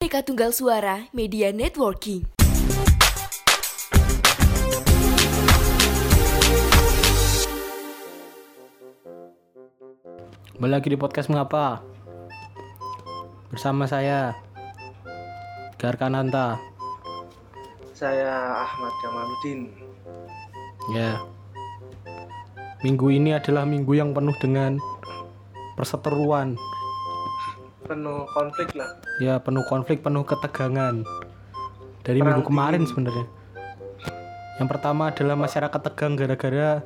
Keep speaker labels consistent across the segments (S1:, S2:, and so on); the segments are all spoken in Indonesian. S1: Merdeka Tunggal Suara Media Networking.
S2: Kembali lagi di podcast mengapa bersama saya Garkananta
S3: Saya Ahmad Kamaluddin.
S2: ya minggu ini adalah minggu yang penuh dengan perseteruan
S3: Penuh konflik lah.
S2: ya penuh konflik penuh ketegangan dari
S3: Perang
S2: minggu kemarin
S3: dingin.
S2: sebenarnya yang pertama adalah masyarakat tegang gara-gara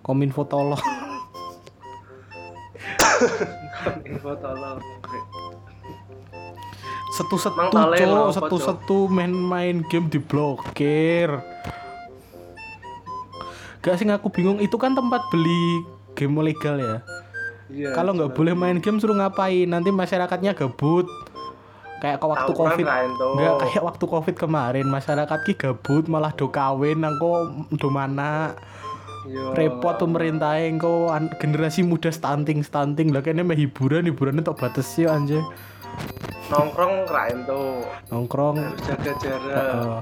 S2: kominfo tolong
S3: Info tolong.
S2: setu-setu
S3: Mang Tale
S2: cowok,
S3: lah, apa,
S2: setu-setu main-main game diblokir gak sih aku bingung itu kan tempat beli game legal ya
S3: Iya.
S2: kalau nggak boleh
S3: bener.
S2: main game suruh ngapain nanti masyarakatnya gabut kayak ke waktu
S3: Tawuran
S2: covid
S3: lah ento.
S2: nggak kayak waktu covid kemarin masyarakat ki gabut malah do kawin nangko do mana
S3: Iya.
S2: repot pemerintah engko an- generasi muda stunting stunting lah kayaknya meh hiburan hiburannya tok batas sih anjir
S3: Nongkrong ra ento.
S2: nongkrong
S3: Harus jaga jarak.
S2: Heeh.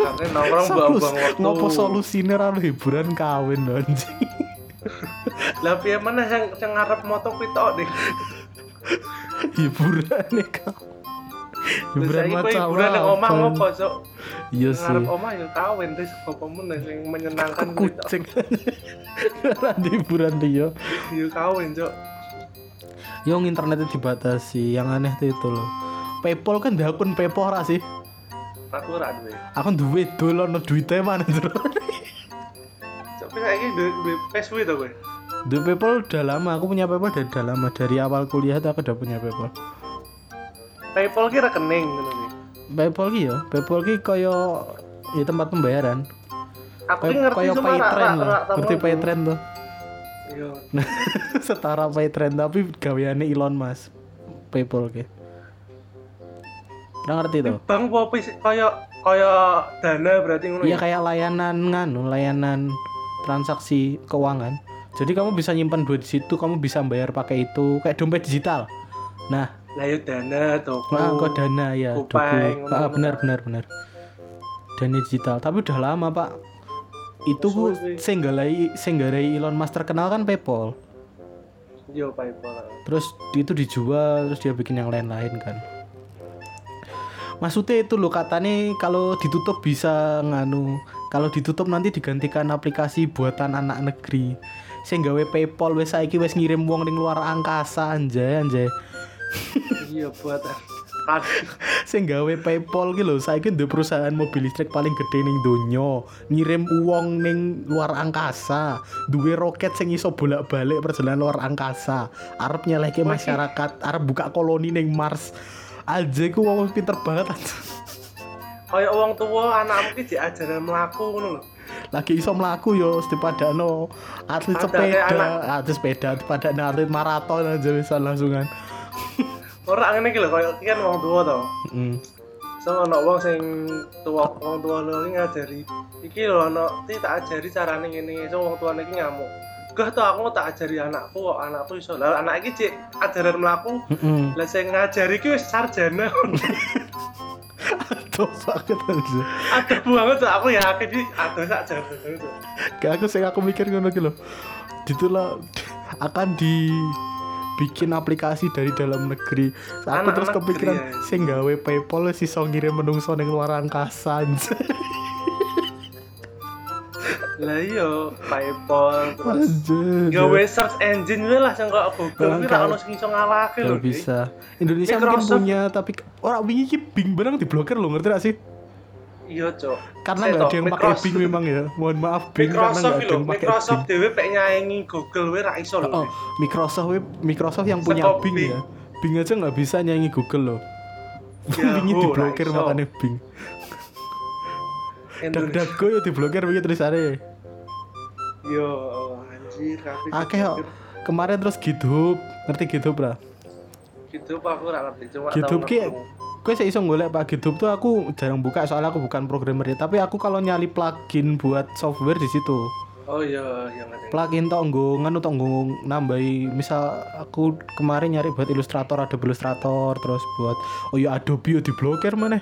S3: Karena nongkrong buang-buang
S2: Solus-
S3: waktu.
S2: ngopo solusinya rano anu, hiburan kawin lho, anjing
S3: Lah piye mana yang yang ngarep moto kuwi tok deh.
S2: hiburan nih kawin hiburan
S3: Saiki kowe
S2: macam
S3: hiburan nang omah
S2: apa?
S3: ngopo sok?
S2: iya sih
S3: Ngarep omah ya kawin terus apa meneh sing menyenangkan kuwi tok.
S2: kucing nanti hiburan dia
S3: Ya kawin, Cok.
S2: yang internetnya dibatasi yang aneh tuh itu loh Paypal kan dia akun Paypal ora sih
S3: Aku ra duwe.
S2: akun duit dolar no duitnya mana tuh
S3: Cok kowe saiki duwe duwe Facebook to kowe.
S2: The Paypal udah lama aku punya Paypal dari udah lama dari awal kuliah tuh aku udah punya Paypal
S3: PayPal ki rekening ngono kuwi.
S2: Paypal ki ya Paypal ki koyo ya tempat pembayaran
S3: Aku ki
S2: Kayak
S3: ngerti
S2: kayak
S3: cuma ra
S2: Paytrend
S3: ra-
S2: lah,
S3: ra- tau
S2: ngerti
S3: ngono.
S2: Paytrend tuh. Nah,
S3: Iya.
S2: Setara Paytrend tapi gaweane Elon Musk. Paypal ke. Udah ngerti tuh.
S3: Bang Popi kaya kaya dana berarti ngono
S2: Iya kayak layanan nganu, layanan transaksi keuangan. Jadi kamu bisa nyimpan duit di situ, kamu bisa bayar pakai itu, kayak dompet digital. Nah,
S3: Lah ya dana toko.
S2: ah, kok dana ya, Dogo.
S3: Gopay, Oh, ngono-ngono.
S2: Ah, benar benar benar. Dana digital, tapi udah lama, Pak. Itu ku
S3: Suwe sih.
S2: senggalai senggarai Elon Musk terkenal kan PayPal.
S3: Yo PayPal.
S2: terus itu dijual terus dia bikin yang lain-lain kan maksudnya itu loh katanya kalau ditutup bisa nganu kalau ditutup nanti digantikan aplikasi buatan anak negeri saya gawe paypal wes saiki wes ngirim uang di luar angkasa anjay anjay
S3: Iya buat kan
S2: saya gawe paypal gitu loh saiki the perusahaan mobil listrik paling gede ning donya ngirim uang ning luar angkasa duwe roket sing iso bolak-balik perjalanan luar angkasa arep nyelehke masyarakat arep buka koloni ning Mars aja ku wong pinter banget
S3: kaya wong tua anakmu ki diajaran mlaku ngono lho.
S2: lagi iso mlaku yo sepadano atlet
S3: Ada
S2: sepeda
S3: anak.
S2: atlet sepeda pada atlet maraton aja bisa langsungan
S3: Ora ngene iki lho kaya iki kan wong tua to.
S2: Mm.
S3: So ana wong sing tua wong tua lho iki ngajari iki lho ana ti tak ajari carane ngene so wong tuane iki ngamuk. Gah to aku tak ajari anakku kok anakku iso. Lah anak iki cek ajaran mlaku.
S2: Mm-mm.
S3: Lah sing ngajari ki wis sarjana.
S2: Aduh, sakit aja
S3: Aduh banget Cok. aku yakin iki aduh sak jarene. Cok.
S2: Kayak aku sing aku mikir ngono ki lho. Ditulah akan dibikin aplikasi dari dalam negeri. Aku
S3: Anak-anak
S2: terus kepikiran
S3: negeri, ya.
S2: sing gawe PayPal si ngirim menungso ning luar angkasa. anjay.
S3: Lah iya, PayPal terus
S2: Anjay.
S3: gawe search engine wae lah sing kok Google kuwi
S2: Bangkai.
S3: ra ono sing iso ngalahke ya lho.
S2: Kalau bisa. Indonesia mungkin
S3: Microsoft.
S2: punya tapi orang wingi ki Bing barang diblokir lho, ngerti gak sih?
S3: Iya, Cok.
S2: Karena nggak
S3: Saya
S2: ada yang
S3: tau,
S2: pakai
S3: Microsoft-
S2: Bing memang ya. Mohon maaf Bing karena
S3: Microsoft
S2: nggak ada
S3: lho,
S2: yang pakai
S3: Microsoft
S2: Bing.
S3: dhewe pek nyaingi Google wae ra iso lho.
S2: Oh, Microsoft Microsoft yang punya
S3: Seko
S2: Bing
S3: Bing.
S2: ya. Bing aja nggak bisa nyanyi Google loh.
S3: Yahoo,
S2: Bing diblokir
S3: ra Ya, oh, iso.
S2: makanya Bing.
S3: Indonesia.
S2: Dak-dak gue ya diblokir begitu tulisannya
S3: Yo, oh, anjir, kabeh.
S2: Akeh kok Kemarin terus GitHub Ngerti GitHub lah
S3: Gitu Pak, aku ra ngerti cuma
S2: GitHub
S3: tau
S2: ki
S3: nemu.
S2: Gue sih iso golek pak GitHub tuh aku jarang buka soalnya aku bukan programmer ya Tapi aku kalau nyali plugin buat software di situ
S3: Oh iya, iya ngerti.
S2: plugin tok nggo nganu tok nggo nambahi misal aku kemarin nyari buat ilustrator ada ilustrator terus buat oh ya Adobe ya diblokir mana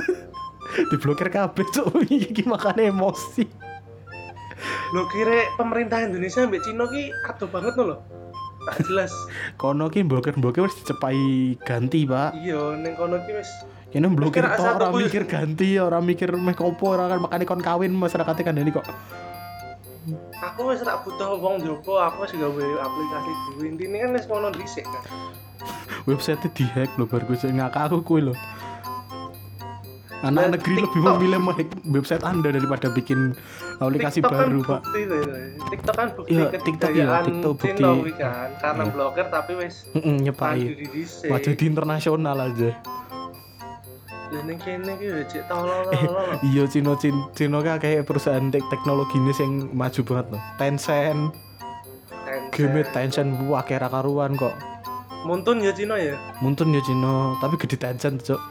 S2: diblokir kabeh cuk iki makane emosi
S3: Lo kira pemerintah Indonesia ambek Cina ki aduh banget no lho. Tak jelas.
S2: kono ki blokir-blokir wis dicepai ganti pak
S3: iya, ning kono ki wis
S2: ini blokir
S3: Kira
S2: tok
S3: satu
S2: ora
S3: kuy-
S2: mikir ganti ora mikir meh kopo ora kan makane kon kawin masyarakatnya kan kok
S3: aku wis tak butuh wong jopo, aku wis gawe aplikasi dhewe. Intine kan wis ngono dhisik kan.
S2: website dihack lho bar gue sing ngakak aku kuwi lho anak
S3: Dan
S2: negeri lebih
S3: Nah, TikTok.
S2: memilih menghack website anda daripada bikin aplikasi
S3: TikTok kan
S2: baru pak
S3: bukti to, ya. TikTok kan bukti
S2: Iya,
S3: kejayaan
S2: TikTok iya, TikTok bukti.
S3: Cina kuwi kan. Karena
S2: Iya.
S3: blogger tapi wis
S2: Mm-mm, nyepai
S3: mandiri dhisik.
S2: wah jadi internasional aja
S3: Lah ning kene ki ya cek tolol-tolol.
S2: iya Cino Cino Cino kan kayak perusahaan tek teknologi ini yang maju banget loh Tencent
S3: Nah.
S2: game Tencent wah kayak karuan kok
S3: Muntun ya Cina ya.
S2: muntun ya Cino tapi gede Tencent cok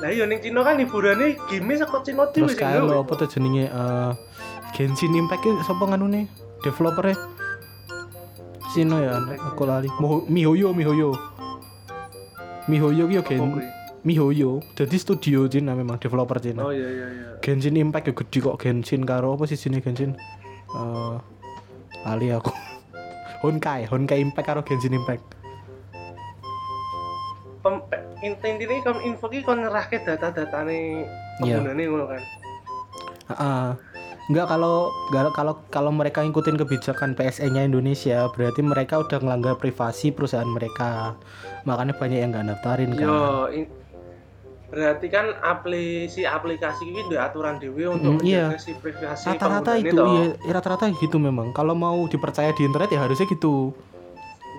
S3: Lah iya ning Cina kan hiburane game saka Cina dhewe
S2: terus
S3: sing
S2: kayak
S3: gawe.
S2: lo apa tuh jenenge eh, Genshin Impact itu siapa nganu nih developernya Cino ya aku lali Moho- Mihoyo Mihoyo Mihoyo ki yo
S3: Apa
S2: Gen
S3: kuwi?
S2: Mihoyo jadi studio Cina memang developer Cina
S3: Oh iya iya iya.
S2: Genshin Impact ya gede kok Genshin karo apa sih sini Genshin Eh Ali aku Honkai Honkai Impact karo Genshin Impact
S3: Pem- eh, pe- int- Intine kon info ki kon nyerahke data-datane
S2: Iya.
S3: penggunane ngono kan.
S2: Heeh. Enggak kalau enggak kalau kalau mereka ngikutin kebijakan PSE-nya Indonesia berarti mereka udah ngelanggar privasi perusahaan mereka makanya banyak yang nggak daftarin kan
S3: Yo in- berarti kan aplikasi aplikasi ini ada aturan dewi
S2: Mm,
S3: untuk
S2: iya.
S3: menjaga si privasi
S2: rata-rata
S3: penggunanya
S2: itu
S3: toh.
S2: iya rata-rata gitu memang kalau mau dipercaya di internet ya harusnya gitu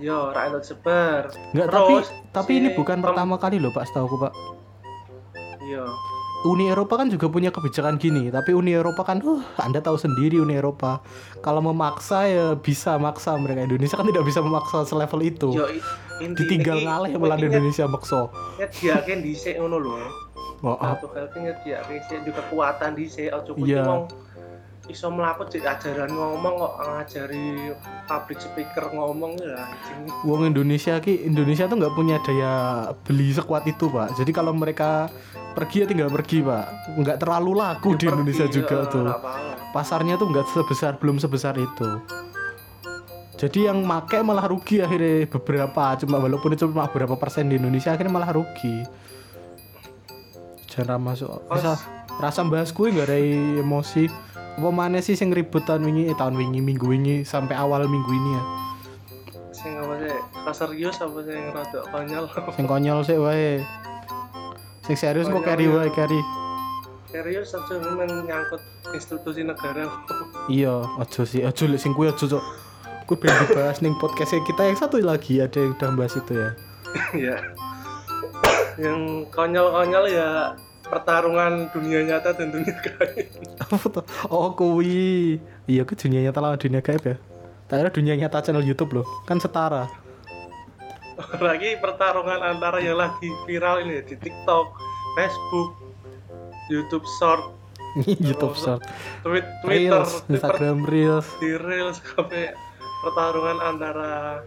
S3: Yo, ra entuk sebar.
S2: Enggak tapi
S3: Terus,
S2: tapi
S3: si
S2: ini bukan
S3: pem-
S2: pertama kali loh Pak setahu Pak
S3: Yo.
S2: Uni Eropa kan juga punya kebijakan gini, tapi Uni Eropa kan, uh, Anda tahu sendiri Uni Eropa. Kalau memaksa ya bisa maksa mereka. Indonesia kan tidak bisa memaksa selevel itu.
S3: Yo i- inti
S2: Ditinggal
S3: iki-
S2: ngalih
S3: kowe
S2: malah
S3: ki
S2: Indonesia maksa.
S3: nyed- Nyediake dhisik ngono lho.
S2: Oh, ah,
S3: Satu hal ki nyediake sik juga kekuatan dhisik ojo kuwi
S2: Iya.
S3: wong iso mlaku cek ajaran ngomong kok ngajari public speaker ngomong ya anjing.
S2: Wong Indonesia ki Indonesia tuh nggak punya daya beli sekuat itu pak. Jadi kalau mereka pergi ya tinggal pergi pak. Nggak terlalu laku di
S3: Ya, Pergi,
S2: Indonesia
S3: yo,
S2: juga tuh.
S3: ra paham.
S2: Pasarnya tuh nggak sebesar belum sebesar itu. Jadi yang make malah rugi akhirnya beberapa. Cuma walaupun itu cuma beberapa persen di Indonesia akhirnya malah rugi. Jangan masuk. Rasa, rasa bahas kue nggak ada emosi. Apa mana sih yang ribut tahun wingi, eh, tahun wingi, minggu wingi sampai awal minggu ini ya.
S3: sing apa sih kaserius apa sih yang rada konyol
S2: sing konyol sih wae sing serius kok carry
S3: Konyol, iya.
S2: wae carry
S3: serius aja memang nyangkut institusi negara
S2: iya aja sih aja lek sing kuwi aja cok kuwi pengen dibahas ning podcast e. kita yang satu lagi ada yang udah bahas itu ya
S3: ya yang konyol-konyol ya pertarungan dunia nyata dan dunia gaib
S2: apa tuh oh kuwi iya ke dunia nyata lawan dunia gaib ya tak kira dunia nyata channel YouTube loh kan setara
S3: lagi pertarungan antara yang lagi viral ini ya, di TikTok, Facebook, YouTube Short,
S2: YouTube short
S3: Tweet, Twitter,
S2: Reels
S3: Twitter,
S2: Instagram Reels
S3: di Reels, sampai pertarungan antara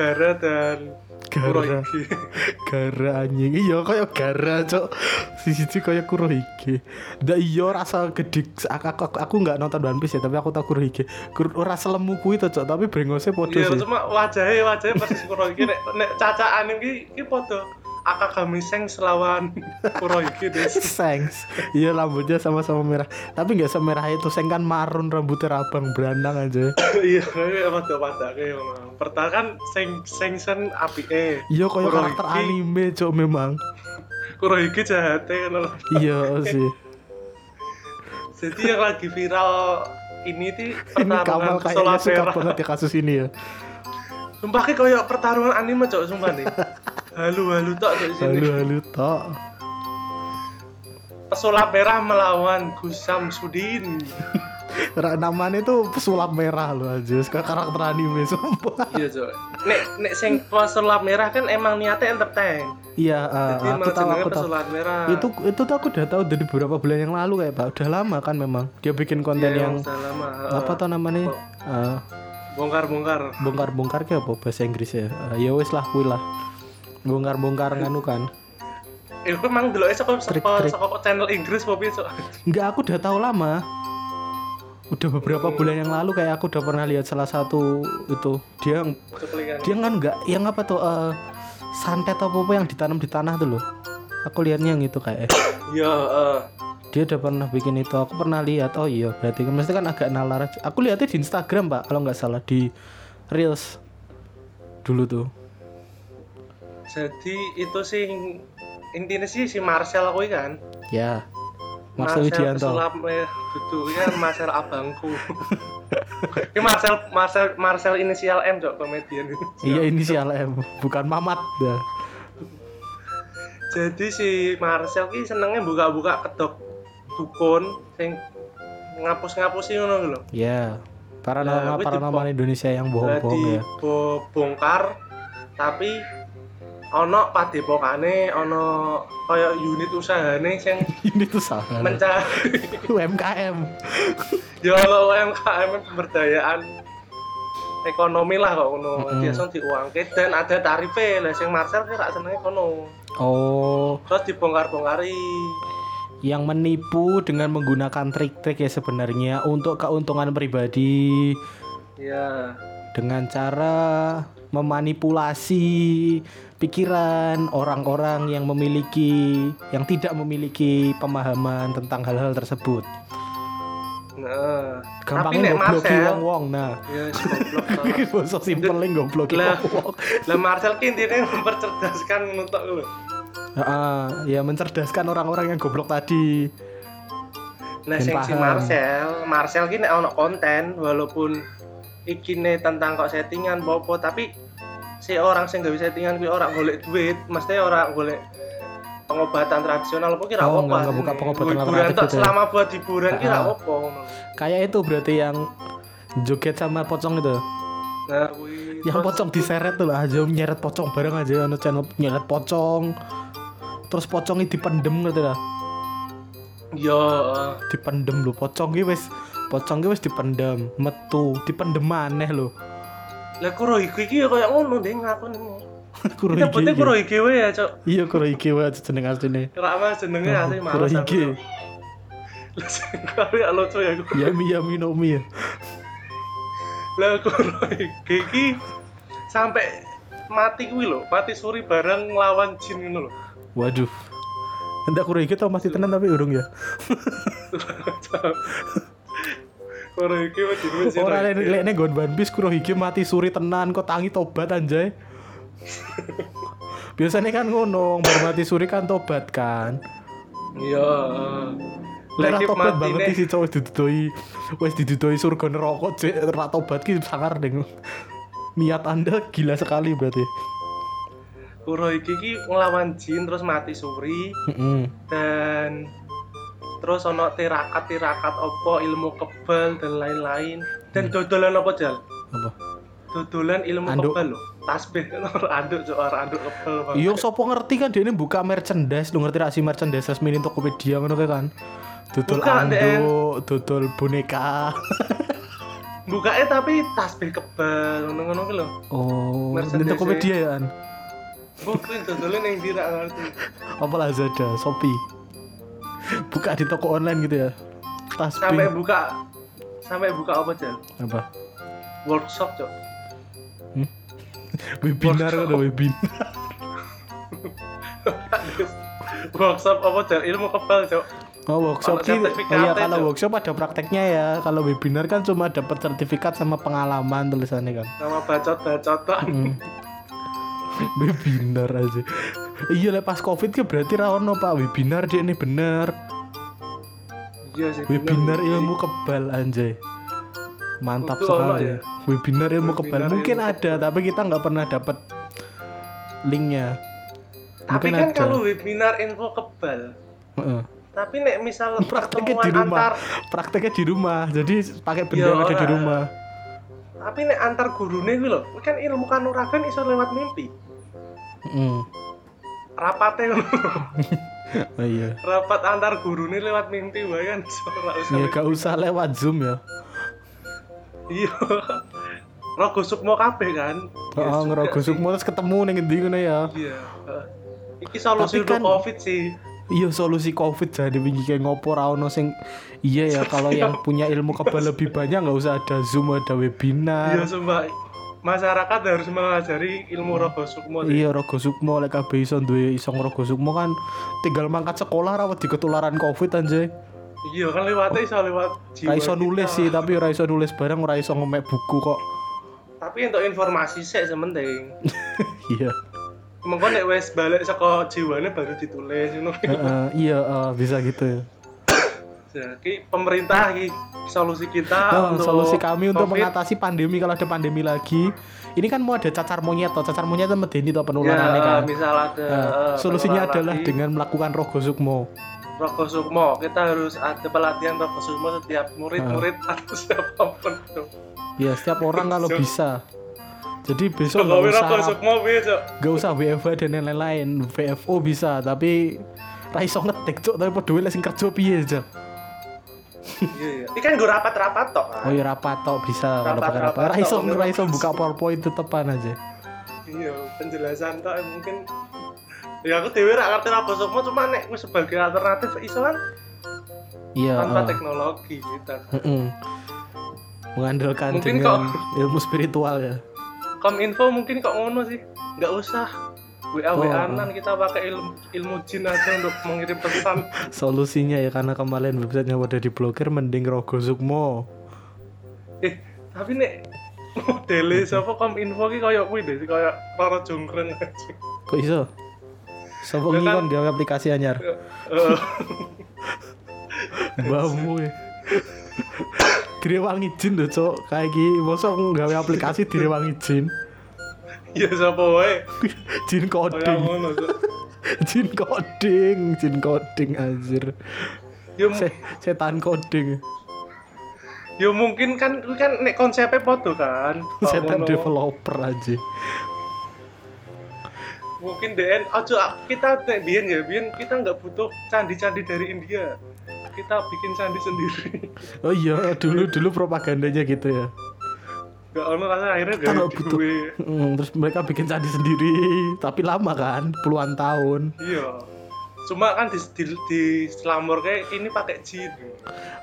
S3: Gara dan
S2: gara
S3: Kuroiki.
S2: gara anjing iya kaya gara cok sisi kaya kurohige ndak iya rasa gede aku aku, aku, aku nggak nonton One Piece ya tapi aku tau kurohige Kur, ora selemu kuwi to cok tapi brengose podo
S3: Iya,
S2: sih
S3: cuma wajahnya wajahnya persis Kuroiki nek nek cacaan iki iki padha Akagamiseng selawan Kuroiki des.
S2: Sengs Iya rambutnya sama-sama merah Tapi nggak semerah itu Seng kan marun rambutnya rabang Berandang aja
S3: Iya, kowe padha padake ngono. Pertama kan sing singsen apike.
S2: Iya kaya
S3: Kurohige-
S2: karakter anime cok memang
S3: Kuroiki jahate ngono lho.
S2: Iya sih
S3: Jadi yang lagi viral ini ti
S2: Ini Kamal
S3: pertarungan
S2: kayaknya suka
S3: Solavera.
S2: banget ya kasus ini ya
S3: Sumpah ki koyo pertarungan anime cok sumpah nih. Halu-halu tok cok sini.
S2: Halu-halu tok
S3: Pesulap merah melawan Gusam Sudin.
S2: Ra- namanya tuh pesulap merah loh aja kayak karakter anime sumpah
S3: iya coy nek nek sing pesulap merah kan emang niatnya entertain
S2: iya eh, aku
S3: jadi emang
S2: tahu
S3: jenenge
S2: aku tahu
S3: pesulap merah
S2: itu itu tuh aku udah tahu dari beberapa bulan yang lalu kayak pak udah lama kan memang dia bikin konten
S3: Iya,
S2: yang
S3: udah lama.
S2: apa tuh namanya Eh,
S3: bongkar bongkar
S2: bongkar-bongkar kayak apa bahasa Inggris ya Eh, ya wes lah kuwi lah bongkar-bongkar
S3: Iya.
S2: nganu kan
S3: itu Eh, emang dulu saka saka
S2: Trik-trik.
S3: saka channel Inggris apa piye, Cok?
S2: Enggak, aku udah tahu lama. Udah beberapa bulan yang lalu kayak aku udah pernah lihat salah satu itu dia
S3: Cuplikan.
S2: dia kan enggak yang apa tuh eh, santet apa apa yang ditanam di tanah tuh loh. Aku lihatnya yang itu kayak eh,
S3: Iya, heeh.
S2: dia udah pernah bikin itu. Aku pernah lihat. Oh iya, berarti kan mesti kan agak nalar. aja. Aku lihatnya di Instagram, Pak, kalau nggak salah di Reels dulu tuh.
S3: jadi itu sih intinya sih si Marcel aku kan
S2: Ya. Marcel Widianto.
S3: pesulap merah itu ya Marcel abangku ini Marcel Marcel Marcel inisial M cok komedian ini
S2: Iya inisial M, bukan Mamat. Ya.
S3: jadi si Marcel ini senengnya buka-buka kedok dukun sing ngapus-ngapusin ngono lho
S2: Ya.
S3: Nah,
S2: Paranormal
S3: aku
S2: paranormal Indonesia yang bohong-bohong
S3: jadi
S2: ya.
S3: bo- bongkar tapi ono padepokane ono kaya unit usahane sing
S2: Ini tuh salah.
S3: mencari
S2: UMKM.
S3: ya kalau UMKM pemberdayaan ekonomi lah kok ngono
S2: Mm-mm.
S3: biasa diuangke dan ada tarife lah sing Marcel ki rak senenge kono
S2: Oh,
S3: terus dibongkar-bongkari
S2: yang menipu dengan menggunakan trik-trik ya sebenarnya untuk keuntungan pribadi
S3: ya
S2: dengan cara memanipulasi pikiran orang-orang yang memiliki yang tidak memiliki pemahaman tentang hal-hal tersebut.
S3: nah tapi
S2: Gampangnya
S3: nek
S2: gobloki
S3: Marcel
S2: wong-wong nah.
S3: ya si goblok salah.
S2: Bosok simpel yang gobloki
S3: Lah.
S2: wong-wong.
S3: lah Marcel ki intine mempercerdaskan untuk lho
S2: Heeh, ya mencerdaskan orang-orang yang goblok tadi.
S3: nah
S2: Ben
S3: sing si
S2: paham.
S3: Marcel Marcel ki nek ono konten walaupun ikine tentang kok settingan popo tapi si orang sing gawe settingan kuwi orang golek duit mesti orang golek pengobatan tradisional apa kira
S2: Oh,
S3: apa
S2: nggak- nggak buka pengobatan
S3: hiburan
S2: alternatif
S3: tok
S2: gitu ya.
S3: selama buat hiburan kira
S2: Ah.
S3: apa ngono.
S2: Kayak itu berarti yang joget sama pocong itu.
S3: nah kuwi
S2: yang
S3: terus-
S2: pocong diseret tuh lah aja nyeret pocong bareng aja ono channel nyeret pocong terus pocongnya dipendem gitu lah
S3: yo
S2: dipendem lo pocong gitu wes pocong gitu wes dipendem metu dipendem maneh lo
S3: lah kuro iki iki ya koyo ngono deh ngakon
S2: kuro
S3: kita
S2: iki
S3: putih kuro iki wae ya cok
S2: iya kuro iki wae jeneng asline
S3: kira apa jenenge
S2: Oh,
S3: asli
S2: kuro
S3: malas aku,
S2: iki.
S3: Cok. lah sing kaya lucu ya aku
S2: yami yami no mi ya
S3: lah kuro iki iki sampai mati kuwi lho mati suri bareng nglawan jin ngono lho
S2: waduh Enggak kuro iki tau masih tenan tapi urung ya
S3: kuro iki wis diduwe jin
S2: Orang
S3: lagi.
S2: lain lainnya gon One Piece Kuro Hige mati suri tenan kok tangi tobat anjay biasanya kan ngono baru mati suri kan tobat kan
S3: Iya.
S2: Lah
S3: Lagi
S2: tobat
S3: mati
S2: banget
S3: nih.
S2: sih cowok didudoi wes didudoi surga neraka cek ra tobat ki sangar deng. Niat Anda gila sekali berarti.
S3: Kuro iki ki nglawan jin terus mati suri
S2: Heeh.
S3: dan terus ono tirakat-tirakat opo ilmu kebal dan lain-lain dan
S2: Hmm.
S3: dodolan apa jal?
S2: Apa?
S3: Dodolan ilmu
S2: Anduk.
S3: kebal lho. Tasbih ora anduk cok ora anduk kebal. Bang.
S2: Yo sopo ngerti kan dia ini buka merchandise, lu ngerti ra sih merchandise resmi ning Tokopedia ngono kae kan. Dodol
S3: Buka,
S2: anduk, dodol boneka.
S3: Bukanya tapi tasbih kebal ngono-ngono ki lho.
S2: Oh, ning
S3: Merchandise-nya.
S2: Tokopedia ya kan.
S3: Bukan dodolan yang dirak ngerti.
S2: Apa Lazada, Shopee. Buka di toko online gitu ya.
S3: Sampai
S2: Tasbih
S3: buka sampai buka apa jal?
S2: apa?
S3: Workshop cok.
S2: Webinar kan ada webinar.
S3: workshop apa jal? Ilmu kebal cok.
S2: Oh workshop
S3: Kalau
S2: sih, oh
S3: sertifikatnya
S2: iya kalau
S3: tuh.
S2: workshop ada prakteknya ya. Kalau webinar kan cuma dapat sertifikat sama pengalaman tulisannya kan.
S3: Nama bacot-bacotan.
S2: Hmm. webinar aja. Iya lah pas covid ke berarti rawono pak webinar dia ini bener.
S3: Iya sih. bener.
S2: Webinar ilmu kebal anjay. Mantap
S3: Itu ono
S2: sekali.
S3: ya?
S2: Webinar ilmu kebal
S3: Webinar
S2: mungkin
S3: ilmu
S2: ada tapi kita nggak pernah dapat linknya.
S3: Tapi
S2: Mungkin
S3: kan
S2: ada.
S3: kalau webinar info kebal,
S2: Heeh.
S3: tapi nek misal
S2: prakteknya di
S3: pertemuan
S2: rumah
S3: antar
S2: prakteknya di rumah jadi pakai benda yang
S3: Iya,
S2: ada di
S3: ora.
S2: rumah
S3: tapi nek antar gurune kuwi lho kuwi kan ilmu kanuragan iso lewat mimpi
S2: Mm.
S3: rapate
S2: Oh, iya
S3: rapat antar gurune lewat mimpi wae kan iso ora usah
S2: ya gak usah lewat zoom ya
S3: iya rogo sukmo kabeh kan
S2: oh, ngerogo sukmo terus ketemu nih ngendi ngono ya
S3: iya heeh. iki solusi
S2: Tapi kan-
S3: untuk covid sih
S2: iya solusi covid jadi wingi kayak ngopo ra ono sing iya ya kalau yang punya ilmu kebal lebih banyak nggak usah ada zoom ada
S3: iya
S2: webinar
S3: sumpah masyarakat harus mengajari ilmu rogo sukmo sih.
S2: iya rogo sukmo lek kabeh iso duwe iso rogo sukmo kan tinggal mangkat sekolah rawat di ketularan covid anjay
S3: iya kan lewatnya iso lewat
S2: ra
S3: jiwa
S2: iso
S3: kita.
S2: nulis sih tapi ra iso nulis barang ra iso ngemek buku kok
S3: tapi untuk informasi sih sementing
S2: iya
S3: Mengko nek wis balik saka jiwane baru ditulis ngono.
S2: Heeh, iya eh, bisa gitu
S3: Jadi pemerintah iki solusi kita
S2: Nah,
S3: Ah, untuk
S2: solusi kami untuk
S3: COVID.
S2: mengatasi pandemi kalau ada pandemi lagi ini kan mau ada cacar monyet toh cacar monyet sama Deni toh
S3: ya,
S2: penularannya kan
S3: misal ada
S2: Nah,
S3: eh,
S2: solusinya
S3: penularan
S2: adalah
S3: lagi,
S2: dengan melakukan rogo sukmo
S3: Rogo Sukmo kita harus ada pelatihan Rogo Sukmo setiap murid-murid
S2: Ah.
S3: atau siapapun itu
S2: ya setiap orang kalau
S3: Besok.
S2: bisa jadi besok nggak
S3: Jokowi
S2: usah
S3: Rogo Sukmo besok
S2: nggak usah WFH dan lain-lain VFO bisa tapi ra iso ngetik cok tapi peduli lek sing kerja piye aja
S3: iya iya ini kan gue rapat-rapat tok kan
S2: oh iya rapat tok bisa kalau
S3: Rapat,
S2: pakai
S3: rapat,
S2: rapat ra iso
S3: tok.
S2: ra iso buka powerpoint tetepan aja
S3: iya penjelasan tok eh, mungkin ya aku dewe rak ngerti Rogo Sukmo cuma nek aku sebagai alternatif iso kan
S2: iya
S3: tanpa
S2: eh.
S3: teknologi gitu kan
S2: Mm-mm. mengandalkan
S3: Mungkin
S2: dengan ilmu spiritual ya
S3: Kominfo mungkin kok ngono sih nggak usah WA
S2: Oh.
S3: WA anan kita pakai ilmu ilmu jin aja untuk mengirim pesan
S2: solusinya ya karena kemarin websitenya udah diblokir mending rogo sukmo
S3: eh tapi nek modele siapa Kominfo ki koyo kuwi deh koyo para jongkren aja
S2: kok iso sapa ngikon dia aplikasi anyar
S3: Eh,
S2: mbamu ya direwangi jin lho cok kayak gini mosok nggawe aplikasi direwangi jin
S3: ya siapa wae
S2: jin
S3: koyo
S2: coding
S3: ngono so.
S2: jin coding jin coding anjir
S3: ya, mu-
S2: Se- setan coding
S3: ya mungkin kan kuwi kan nek konsepnya podo kan Kok
S2: setan
S3: ngono.
S2: developer aja
S3: mungkin DN ojo kita nek biyen ya biyen kita nggak butuh candi-candi dari India kita bikin candi sendiri
S2: oh iya dulu dulu propagandanya gitu ya
S3: Gak ono rasa akhirnya
S2: Kita
S3: gawe
S2: nggak butuh.
S3: duwe.
S2: Mm, terus mereka bikin candi sendiri, tapi lama kan, puluhan tahun.
S3: Iya. Cuma kan di di, di selamur kayak ini pakai jin.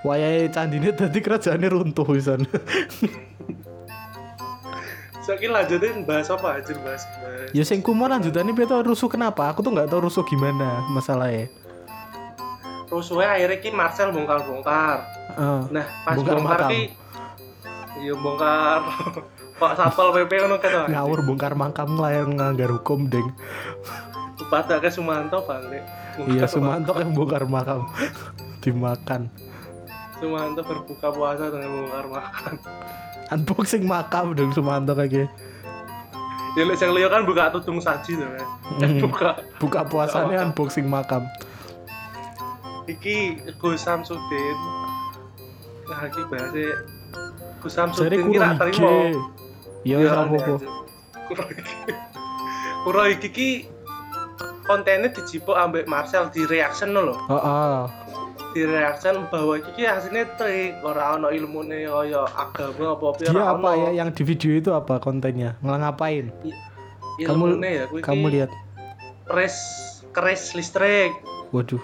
S2: Wayahe candine dadi kerajaannya runtuh pisan.
S3: Saiki lanjutin bahas apa aja bahas. bahas.
S2: ya sing kumo lanjutannya piye tau rusuh kenapa? Aku tuh nggak tahu rusuh gimana masalahnya.
S3: Rusuhnya Oh, akhirnya ki Marcel bongkar-bongkar.
S2: Heeh.
S3: Nah, pas
S2: Bongkar
S3: bongkar,
S2: makam.
S3: ki iya bongkar. Pak Satpol PP ngono kata.
S2: ngawur bongkar makam lah yang nganggar hukum, Ding.
S3: Bupati ke Sumanto balik.
S2: Iya,
S3: Bongkar-
S2: Sumanto yang bongkar makam. Dimakan.
S3: Sumanto berbuka puasa dengan bongkar makan.
S2: Unboxing makam dong Sumanto kayak gitu.
S3: Ya lek sing liya kan buka tudung saji to kan.
S2: Hmm.
S3: Buka
S2: Buka puasanya unboxing makam.
S3: iki Gus Samsudin nah iki bahasa Gus
S2: Jadi
S3: Samsudin iki
S2: kurang
S3: tak
S2: IG.
S3: terima
S2: Ya wis
S3: Ya,
S2: apa apa.
S3: aneh aja. kurang iki kurang iki ki kontennya dijipuk ambek Marcel di reaction lho
S2: Heeh.
S3: di reaction bahwa iki ki aslinya trik ora ono ilmune kaya agama apa apa
S2: Dia apa ya yang di video itu apa kontennya? Ngelang ngapain? iya. Kamu-
S3: ilmune ya kuwi
S2: Kamu lihat.
S3: res keris listrik
S2: Waduh.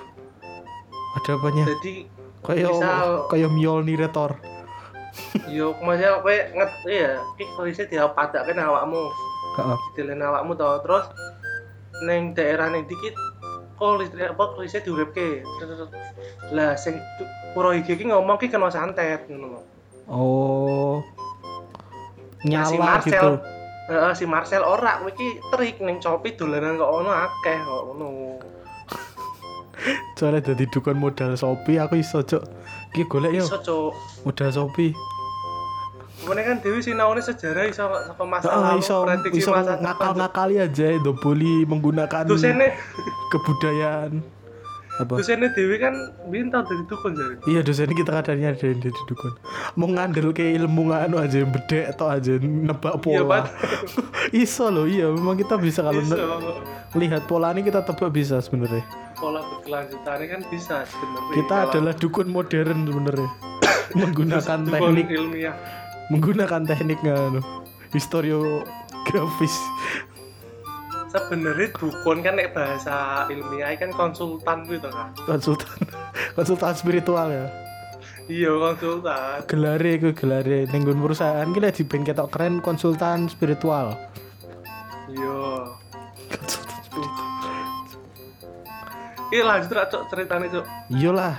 S2: Ada apanya?
S3: jadi
S2: Kayak
S3: misal-
S2: kayak Mjolnir ya, Thor.
S3: yo maksudnya kowe nget ya iki kerisnya diapadake nang awakmu
S2: Heeh.
S3: dilen awakmu to terus neng daerah neng dikit kok listrik apa kerisnya diuripke lah sing tu- Kurohige iki ngomong ki kena santet ngono lho
S2: Oh.
S3: Nah, si
S2: Nyala
S3: Marcel
S2: gitu.
S3: Heeh, si Marcel ora kuwi ki trik neng copi dolanan kok ono akeh kok ngono
S2: Soalnya dari dukun modal Shopee aku iso cok. Ki golek yo
S3: iso cok
S2: modal Shopee.
S3: Kemudian kan Dewi sinaune sejarah iso saka masa
S2: Heeh,
S3: lalu
S2: Ah, iso
S3: prediksi
S2: iso
S3: masa depan
S2: ngakal-ngakali aja do menggunakan
S3: dosennya
S2: kebudayaan. Apa?
S3: dosennya Dewi kan biyen tau dadi dukun jare.
S2: Iya dosen kita kadarnya ada yang jadi dukun. Mau ngandel ke ilmu nganu aja yang bedek atau aja yang nebak
S3: Iya,
S2: pola.
S3: Pak.
S2: Iso loh, iya memang kita bisa kalau
S3: Bisa
S2: ne- lihat pola ini kita tebak bisa sebenarnya.
S3: pola berkelanjutannya kan bisa sebenarnya.
S2: Kita
S3: Kalau
S2: adalah dukun modern sebenarnya. menggunakan
S3: dukun
S2: teknik,
S3: ilmiah.
S2: menggunakan teknik nganu historiografis.
S3: Sebenarnya dukun kan nek bahasa ilmiah kan konsultan gitu kan.
S2: konsultan konsultan spiritual ya
S3: Iya, konsultan.
S2: gelare ke gelare ning nggon perusahaan kita di band ketok keren konsultan spiritual
S3: Iya. Iya lanjut lah cok ceritanya cok.
S2: iyalah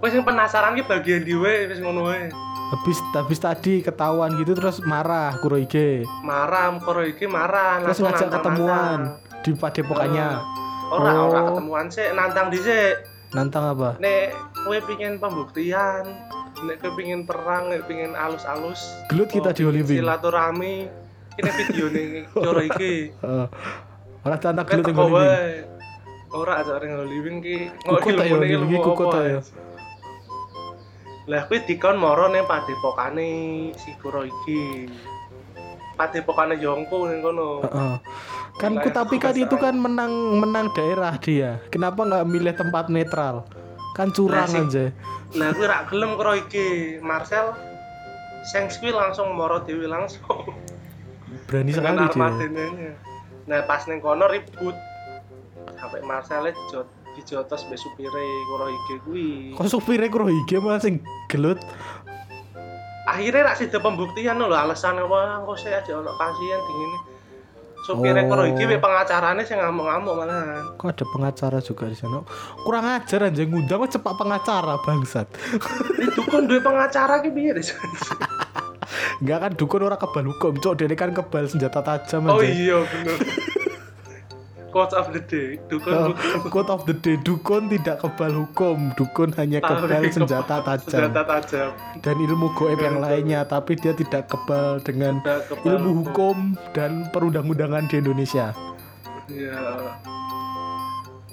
S3: Kau yang penasaran ki bagian diwe wis ngono wae.
S2: habis habis tadi ketahuan gitu terus marah kuroige
S3: Marah, koro iki marah.
S2: terus ngajak
S3: langsung nantang-nantang.
S2: ketemuan di padepokannya
S3: Eh, Ora
S2: Oh.
S3: ora ketemuan sih, nantang dhisik.
S2: nantang apa
S3: Nek kowe pingin pembuktian, nek kowe pingin perang, nek pingin alus-alus.
S2: Gelut kita
S3: oh,
S2: di Hollywood.
S3: Silaturahmi. Ini video nih cara iki.
S2: Heeh. ora Eh, tantang
S3: Kowe
S2: gelut
S3: teko wae. Ora aja ning Hollywood ki. Kok
S2: Kukut ta ya,
S3: ilmune
S2: Hollywood ki
S3: ilmu
S2: kukut
S3: apa,
S2: ta ya.
S3: Ais? Lah kowe dikon moro ning padepokane si Kuro iki. Padepokane Yongko ning kono.
S2: Heeh. kan
S3: Wilayah
S2: ku tapi kan itu
S3: kekuasaan.
S2: kan menang menang daerah dia kenapa nggak milih tempat netral kan curang
S3: Nah,
S2: aja
S3: sih. Lah kowe rak gelem karo iki, Marcel. Sengs kuwi langsung moro dewe langsung.
S2: berani sekali dia
S3: dengan armadanya nah pas neng kono ribut sampai Marcel e dijot dijotos be supire karo iki kuwi
S2: kok supire kuroige malah sing gelut
S3: akhirnya rak sida pembuktian lho alasan apa kok saya aja ono pasien dingin supire
S2: Oh.
S3: karo iki be pengacarane sing ngamuk-ngamuk malahan
S2: kok ada pengacara juga di sana kurang ajar anjing ngundang kok cepak pengacara bangsat
S3: Ini dukun duwe pengacara ki piye Des?
S2: nggak kan dukun orang kebal hukum cok dene kan kebal senjata tajam
S3: oh
S2: aja
S3: iya bener quote of the day
S2: Oh,
S3: dukun
S2: quote of the day dukun tidak kebal hukum dukun hanya kebal senjata tajam
S3: senjata tajam
S2: dan ilmu goib yang lainnya tapi dia tidak kebal dengan
S3: Tidak kebal
S2: ilmu
S3: hukum.
S2: hukum dan perundang-undangan di Indonesia
S3: Iya.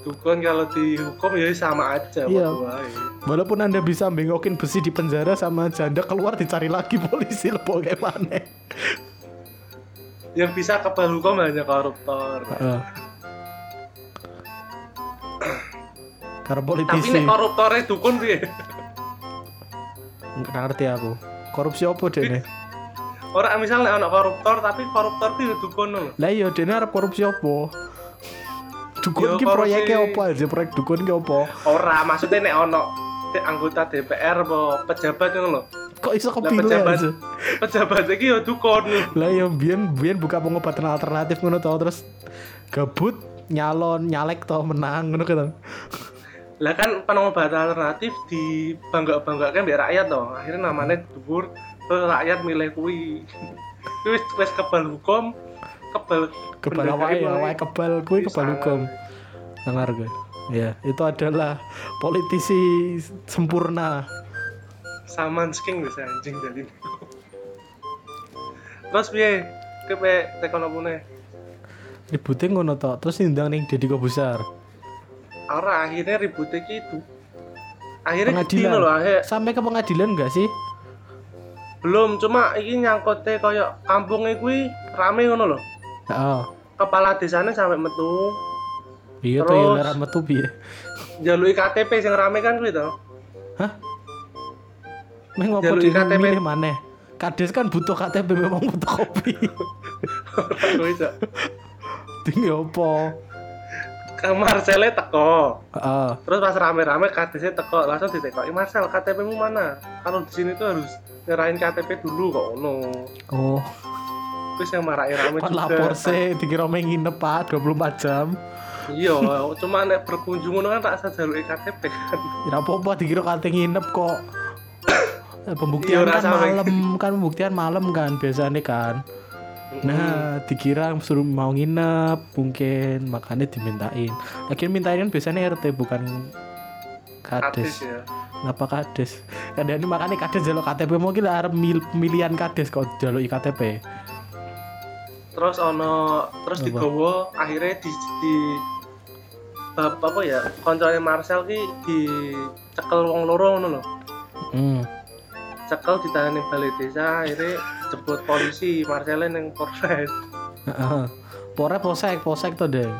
S3: Dukun kalau dihukum ya sama aja
S2: Iya.
S3: waktu wae.
S2: walaupun anda bisa bengokin besi di penjara sama janda keluar dicari lagi polisi lo bagaimana
S3: Yang bisa kebal hukum hanya koruptor.
S2: Heeh. Karena
S3: Tapi
S2: politisi
S3: nek koruptornya dukun piye?
S2: nggak ngerti aku. Korupsi apa dene?
S3: Orang misalnya anak koruptor tapi koruptor itu dukun lho.
S2: Lah iya dene arep korupsi apa? Dukun
S3: Yo,
S2: ki
S3: korupsi.
S2: proyeknya apa aja? Proyek dukun ki apa?
S3: Ora, maksudnya nek ono di- anggota DPR apa pejabat ngono lho.
S2: Kok iso
S3: Lah
S2: kepilih
S3: pejabat
S2: Oh, aja?
S3: pejabat iki ya dukun.
S2: Lah iya biyen biyen buka pengobatan alternatif ngono tau terus gabut nyalon nyalek tau menang ngono kan.
S3: Lah kan pengobatan alternatif di bangga-banggakan biar rakyat toh. Akhirnya namanya dhuwur terus rakyat milih kuwi. Kuwi wis- wis kebal hukum, kebal
S2: Kebal
S3: pendegakan
S2: awake,
S3: wae.
S2: awake kebal kuwi kebal hukum. Dengar gue. Ya, itu adalah politisi sempurna.
S3: Saman sking bisa anjing dari Terus piye? Kepe tekan opone.
S2: ributnya ngono tok terus ndang ning Deddy Kobusar
S3: Ora akhirnya ribut iki itu. Akhirnya
S2: pengadilan
S3: ketino lho akhir.
S2: sampai ke pengadilan enggak sih
S3: Belum cuma iki nyangkote koyo kampungnya kuwi rame ngono lho.
S2: oh
S3: Kepala desanya sampai metu
S2: iya tuh yang
S3: Terus?
S2: larang metu piye
S3: jalui KTP sing rame kan kuwi to.
S2: hah Meh ngopo
S3: Jalur
S2: dhewe
S3: KTP.
S2: milih maneh Kades kan butuh KTP memang butuh kopi
S3: Kuwi to.
S2: Dini opo
S3: Kang Marcele teko.
S2: Heeh.
S3: Terus pas rame-rame KTC teko langsung ditekoki Marcel KTP-mu mana? Kalau di sini tuh harus nyerahin KTP dulu kok ono.
S2: oh
S3: Terus yang marahin rame
S2: kan
S3: juga.
S2: lapor sih dikira meh nginep pak 24 jam
S3: Iya, cuma nek berkunjung ngono kan tak sajalu KTP kan.
S2: ya apa-apa dikira kate nginep kok Eh,
S3: Iya,
S2: pembuktian
S3: ora
S2: kan
S3: sampe.
S2: malam kan pembuktian malam kan biasanya kan
S3: Hmm.
S2: Nah, dikira suruh mau nginep, mungkin makanya dimintain. Akhirnya mintain kan biasanya RT bukan
S3: kades
S2: kades.
S3: ya.
S2: Kenapa kades? Kadang ini makanya kades jalur KTP mungkin arep mil pemilihan kades kok jalur KTP.
S3: Terus ono terus
S2: Apa?
S3: digowo akhirnya di di bab apa ya kontrolnya Marcel ki dicekel wong loro ngono lho.
S2: Hmm.
S3: Cekel ditangani balai desa akhirnya jebut polisi Marcel yang Polres.
S2: Heeh. Pore posek, posek to, Deng.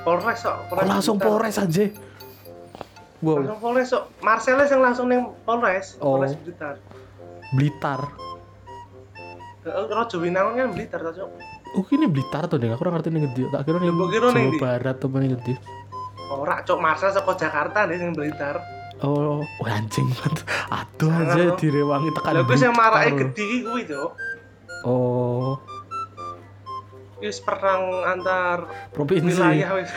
S3: Polres sok.
S2: Kok Oh, langsung
S3: Blitar.
S2: Polres aja. Wow,
S3: Langsung Polres sok. Marcel yang langsung ning Polres,
S2: Oh.
S3: Polres Blitar.
S2: Blitar.
S3: Heeh, Rojo Winangun kan Blitar to, Cok.
S2: Oh, ini Blitar tuh, Deng. Aku ora ngerti ning ngendi. Tak kira ning
S3: Mbok kira
S2: Jawa
S3: ning ndi?
S2: Barat apa ning ngendi.
S3: Ora, Cok Marcel saka Jakarta nih yang Blitar.
S2: Oh, wah, anjing banget. Aduh aja
S3: Salah, no.
S2: direwangi tekan.
S3: Lah kuwi
S2: Kan
S3: sing
S2: Blitar,
S3: marake
S2: loh.
S3: gedhi ki kuwi, Cok.
S2: Oh,
S3: Iki wis perang antar
S2: provinsi.
S3: wilayah wis.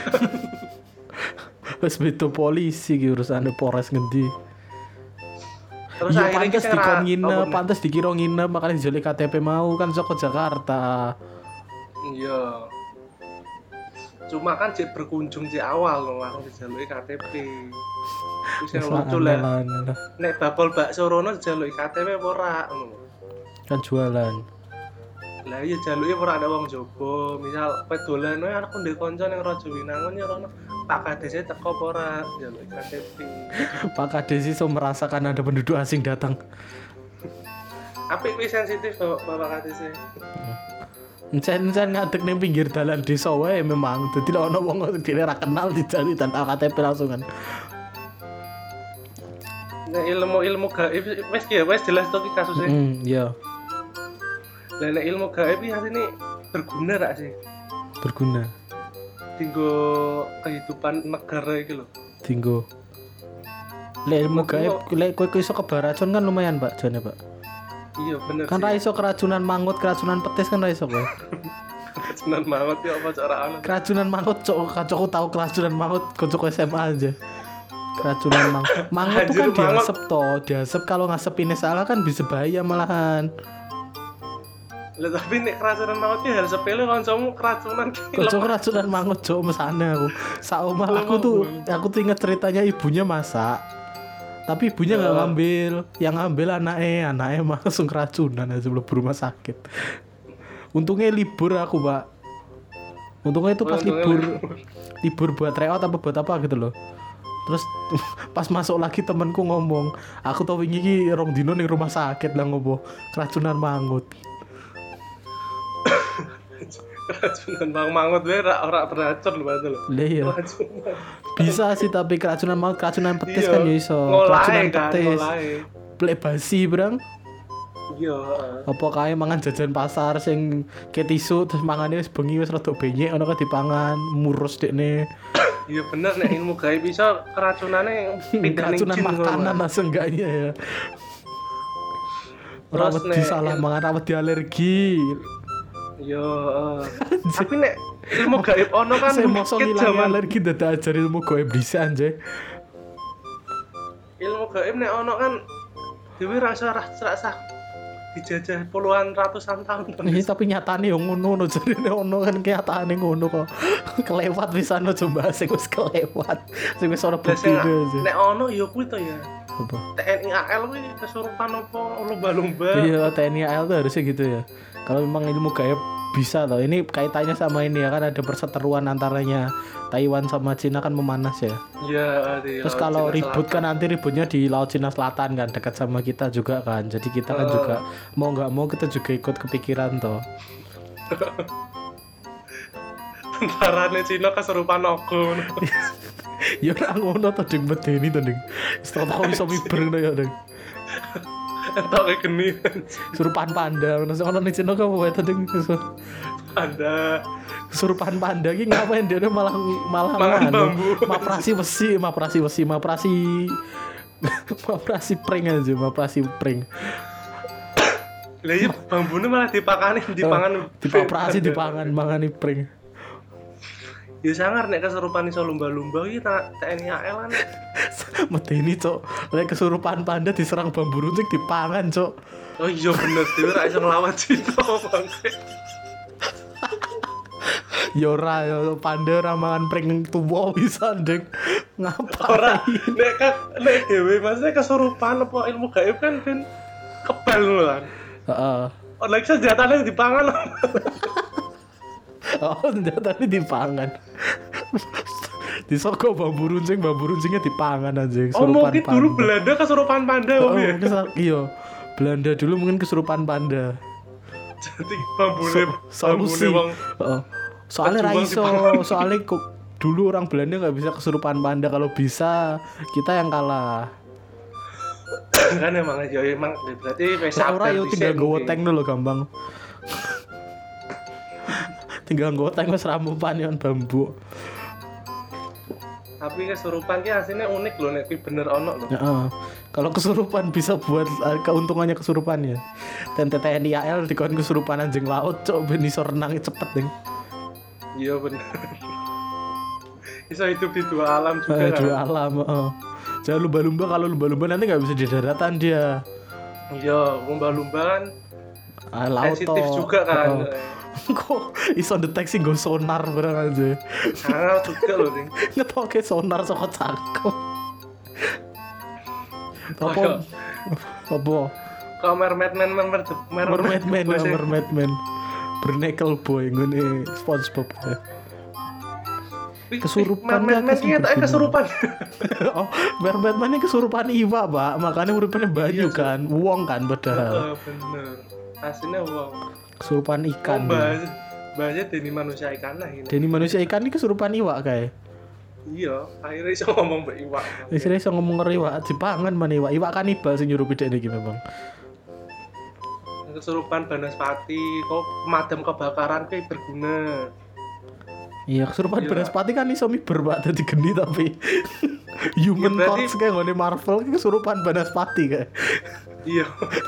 S2: Wis beto polisi ki urusane Polres ngendi.
S3: Terus
S2: iya
S3: akhirnya
S2: pantes
S3: kita
S2: dikon nginep, pantes dikira nginep makanya jeli KTP mau kan saka Jakarta.
S3: Iya. Cuma kan cek berkunjung cek awal loh, langsung dijaluki KTP. Terus yang
S2: Wis ya.
S3: lucu
S2: lah,
S3: lah,
S2: lah, lah.
S3: nek bakul bakso rono dijaluki KTP apa ora ngono.
S2: Kan jualan.
S3: Lah iya jaluki ora ada wong jogo, misal kowe dolan wae aku ndek kanca ning Raja Winangun ya rono. Pak Kades e teko apa ora dijaluki KTP.
S2: Pak Kades iso merasakan ada penduduk asing datang.
S3: Apik kuwi sensitif Bapak Bapak Kades. e.
S2: Encen-encen ngadeg ning pinggir dalan desa wae memang. Dadi lek ana wong dhewe ra kenal dijali tanpa KTP langsung kan.
S3: Nek ilmu-ilmu gaib wis ki ya wis jelas to ki kasusnya.
S2: Hmm, iya.
S3: Lah nek ilmu gaib iki asline berguna rak sih?
S2: Berguna.
S3: tinggo kehidupan negara iki lho.
S2: Tinggo. Lek ilmu gaib, lek kowe kowe iso kebaracun kan lumayan, Pak, jane, Pak.
S3: Iya bener.
S2: Kan ra
S3: sih.
S2: iso keracunan mangut, keracunan petis kan ra iso kowe.
S3: Seneng banget ya apa cara ana.
S2: keracunan mangut cok kacokku tahu keracunan mangut kocok SMA aja keracunan mangut mangut tuh kan
S3: Anjir, mangut.
S2: diasep toh diasep kalau ngasepinnya salah kan bisa bahaya malahan
S3: Lah tapi nek keracunan banget ki harus sepele kancamu keracunan ki.
S2: kocok keracunan mangut cok mesana aku saumah aku tuh aku tuh inget ceritanya ibunya masak tapi ibunya nggak
S3: Ya.
S2: ngambil yang ngambil anaknya anaknya langsung keracunan aja sebelum rumah sakit untungnya libur aku pak untungnya itu pas
S3: Untungnya
S2: libur
S3: libur.
S2: libur buat tryout apa buat apa gitu loh terus pas masuk lagi temanku ngomong aku tau wingi ki rong dino ning rumah sakit lah ngopo keracunan mangut
S3: keracunan bang mangut wae ra ora beracun lho padahal lho.
S2: Lah iya.
S3: Keracunan.
S2: bisa sih tapi keracunan maut keracunan petis
S3: Iya.
S2: kan ya iso
S3: Ngolahe
S2: keracunan
S3: kan,
S2: petis
S3: ngolahe.
S2: plek basi brang
S3: Iya, heeh.
S2: apa kae mangan jajan pasar sing ketisu terus mangane wis bengi wis rada benyek ono kan dipangan murus dekne
S3: Iya bener nek ilmu gaib bisa keracunane pindah ning
S2: keracunan
S3: jin ngono,
S2: makanan
S3: Pak.
S2: lah seenggaknya ya
S3: Terus
S2: rawat
S3: nek
S2: di salah
S3: il-
S2: mangan rawat di alergi
S3: Iya, heeh. Tapi nek ilmu gaib ono kan
S2: saya mosok
S3: mungkin
S2: ngilangi
S3: zaman
S2: alergi dadak ajarin ilmu goib dhisik anjay
S3: ilmu gaib nek ono kan dewi rasa rasa rasa dijajah puluhan ratusan tahun
S2: Iya tapi nyatane yo ngono no jarine ono kan nyatane ngono kok. kelewat bisa no coba sing wis kelewat. Sing wis ora
S3: Lah
S2: bukti
S3: sing
S2: aja.
S3: nek ono ya kuwi to ya
S2: Apa?
S3: TNI AL kuwi kesurupan apa lomba-lomba
S2: Iya TNI AL tuh harusnya gitu ya. Kalau memang ilmu gaib bisa loh. Ini kaitannya sama ini ya kan ada perseteruan antaranya Taiwan sama Cina kan memanas ya.
S3: iya di
S2: Terus
S3: Laut
S2: kalau
S3: Cina
S2: ribut kan nanti ributnya di Laut Cina Selatan kan dekat sama kita juga kan. Jadi kita kan
S3: Eh.
S2: juga mau nggak mau kita juga ikut kepikiran toh.
S3: Selatan.
S2: kan-
S3: tentarane Cina kesurupan ogo
S2: Ya ora ngono to ding medeni to ding. Setelah kok iso miber ngono ya ding.
S3: entok geni
S2: Surupan panda ngono sing ono ning Cina kok wae to ding.
S3: Anda
S2: Surupan panda ki ngapain dia malah malah
S3: Makan
S2: nganu.
S3: bambu.
S2: Maprasi besi, maprasi besi, maprasi maprasi pring aja, maprasi pring.
S3: lah iya bambune malah dipakani
S2: Oh,
S3: dipangan
S2: Dipaprasi dipangan mangani pring.
S3: ya sangar nek kesurupan iso lomba-lomba iki ta- TNI AL kan
S2: Medeni cok, lek kesurupan panda diserang bambu runcing dipangan cok.
S3: oh iya bener dewe ra iso nglawan Cina bangke
S2: Ya ora ya panda ora mangan pring tuwa bisa ndek. Ngapain?
S3: ora nek kan nek dewe maksudnya kesurupan apa ilmu gaib kan ben kebal lho kan
S2: Heeh.
S3: oh lagi senjatanya dipangan
S2: Oh, senjata ini dipangan. disogok bambu runcing, bambu runcingnya dipangan anjing.
S3: Oh
S2: Surupan
S3: mungkin dulu
S2: panda.
S3: Belanda kesurupan panda
S2: Oh,
S3: om ya.
S2: mungkin sa- iya. Belanda dulu mungkin kesurupan panda.
S3: Jadi bambu
S2: So-
S3: lem, bambu
S2: solusi.
S3: lewang.
S2: Heeh. soalnya
S3: Terjuang di
S2: raiso, soalnya kok dulu orang Belanda nggak bisa kesurupan panda kalau bisa kita yang kalah.
S3: kan emang aja emang berarti
S2: Nah,
S3: pesawat
S2: ora yo tinggal gowo tank lho gampang. tinggal gowo tank wis ramumpan yon bambu.
S3: Tapi kesurupan ki aslinya unik loh nek ki bener ono loh.
S2: Heeh. Ya, oh. Kalau kesurupan bisa buat eh, keuntungannya kesurupan ya. Dan TTNI AL dikon kesurupan anjing laut cok ben iso renang cepet ding.
S3: Iya bener. Bisa hidup di dua alam juga.
S2: Eh,
S3: kan?
S2: dua alam, heeh. Jangan lumba-lumba kalau lumba-lumba nanti nggak bisa di daratan dia.
S3: Iya, lumba-lumba kan
S2: Ah, laut
S3: sensitif
S2: toh.
S3: juga kan.
S2: Heeh. Kok iso deteksi nggo sonar barang aja.
S3: Sangat juga loh ding.
S2: ngetoke sonar saka cangkem. Apa?
S3: Ayo.
S2: Apa?
S3: Kau mermaid man mermaid
S2: Mermaid man,
S3: Bos, ya.
S2: mermaid man. Bernekel boy ngene SpongeBob. ya.
S3: Wih,
S2: Kesurupan
S3: mermaid
S2: dia
S3: man
S2: kesurupan.
S3: ki tak kesurupan.
S2: oh, mermaid man ini kesurupan iwa, Pak. Makanya uripnya banyu
S3: Iya, Cuk.
S2: kan, uang kan padahal.
S3: Oh, bener. Aslinya wow.
S2: Kesurupan
S3: Kan
S2: ikan. dia.
S3: bahas bahasnya dari manusia ikan lah gitu. ini.
S2: Deni manusia ikan ini kesurupan iwa kayak.
S3: Iya, akhirnya bisa ngomong mbak iwak.
S2: Istilahnya iso ngomong ngeri iwa, dipangan man iwa. Iwa kanibal sing nyuruh pitik iki memang.
S3: Kesurupan banaspati, kok pemadam kebakaran kayak berguna.
S2: Iya, kesurupan
S3: Iya.
S2: banaspati kan iso miber Pak dadi geni tapi human
S3: Iya, berarti-
S2: torch kayak ngone Marvel ki kesurupan banaspati kayak.
S3: Iya.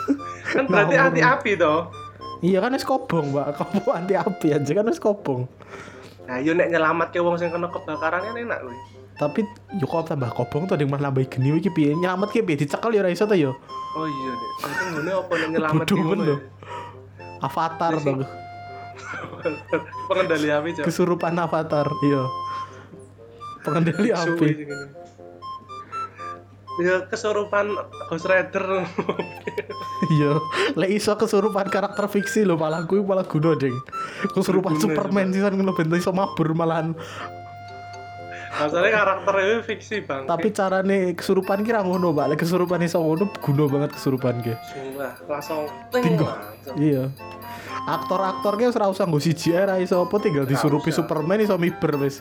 S3: kan berarti
S2: Ngawur.
S3: anti api toh.
S2: Iya kan wis kobong, Pak. Kamu anti api aja kan wis kobong.
S3: Nah, yo nek nyelamat ke wong sing kena kebakaran kan enak loh.
S2: Tapi yo kok tambah kobong tuh ada yang malah nambah geni iki piye? Nyelamat ki piye dicekel ya ora iso ta yo.
S3: Oh iya, Dek. Berarti ngene apa nek nyelamat
S2: Bodoh
S3: ke wong
S2: bener.
S3: ya?
S2: Avatar
S3: Lah, Iya sih.
S2: tuh.
S3: Pengendali api, Cok.
S2: Kesurupan avatar, iya. Pengendali
S3: Suwi
S2: api.
S3: sih ngene. Ya kesurupan Ghost Rider.
S2: Iya, lek iso kesurupan karakter fiksi lho malah kuwi malah guna, Ding. Kesurupan
S3: Berguna,
S2: Superman sisan ngono ben iso mabur malahan
S3: Masalahnya karakternya fiksi, Bang.
S2: tapi carane kesurupan kira ngono mbak Lek kesurupan iso ngono guna banget kesurupan ki
S3: Sumpah, langsung ting,
S2: Tinggo.
S3: langsung.
S2: iya aktor-aktor ki ora usah nggo CGI ra iso apa tinggal
S3: Ra
S2: disurupi
S3: usah.
S2: Superman iso miber wis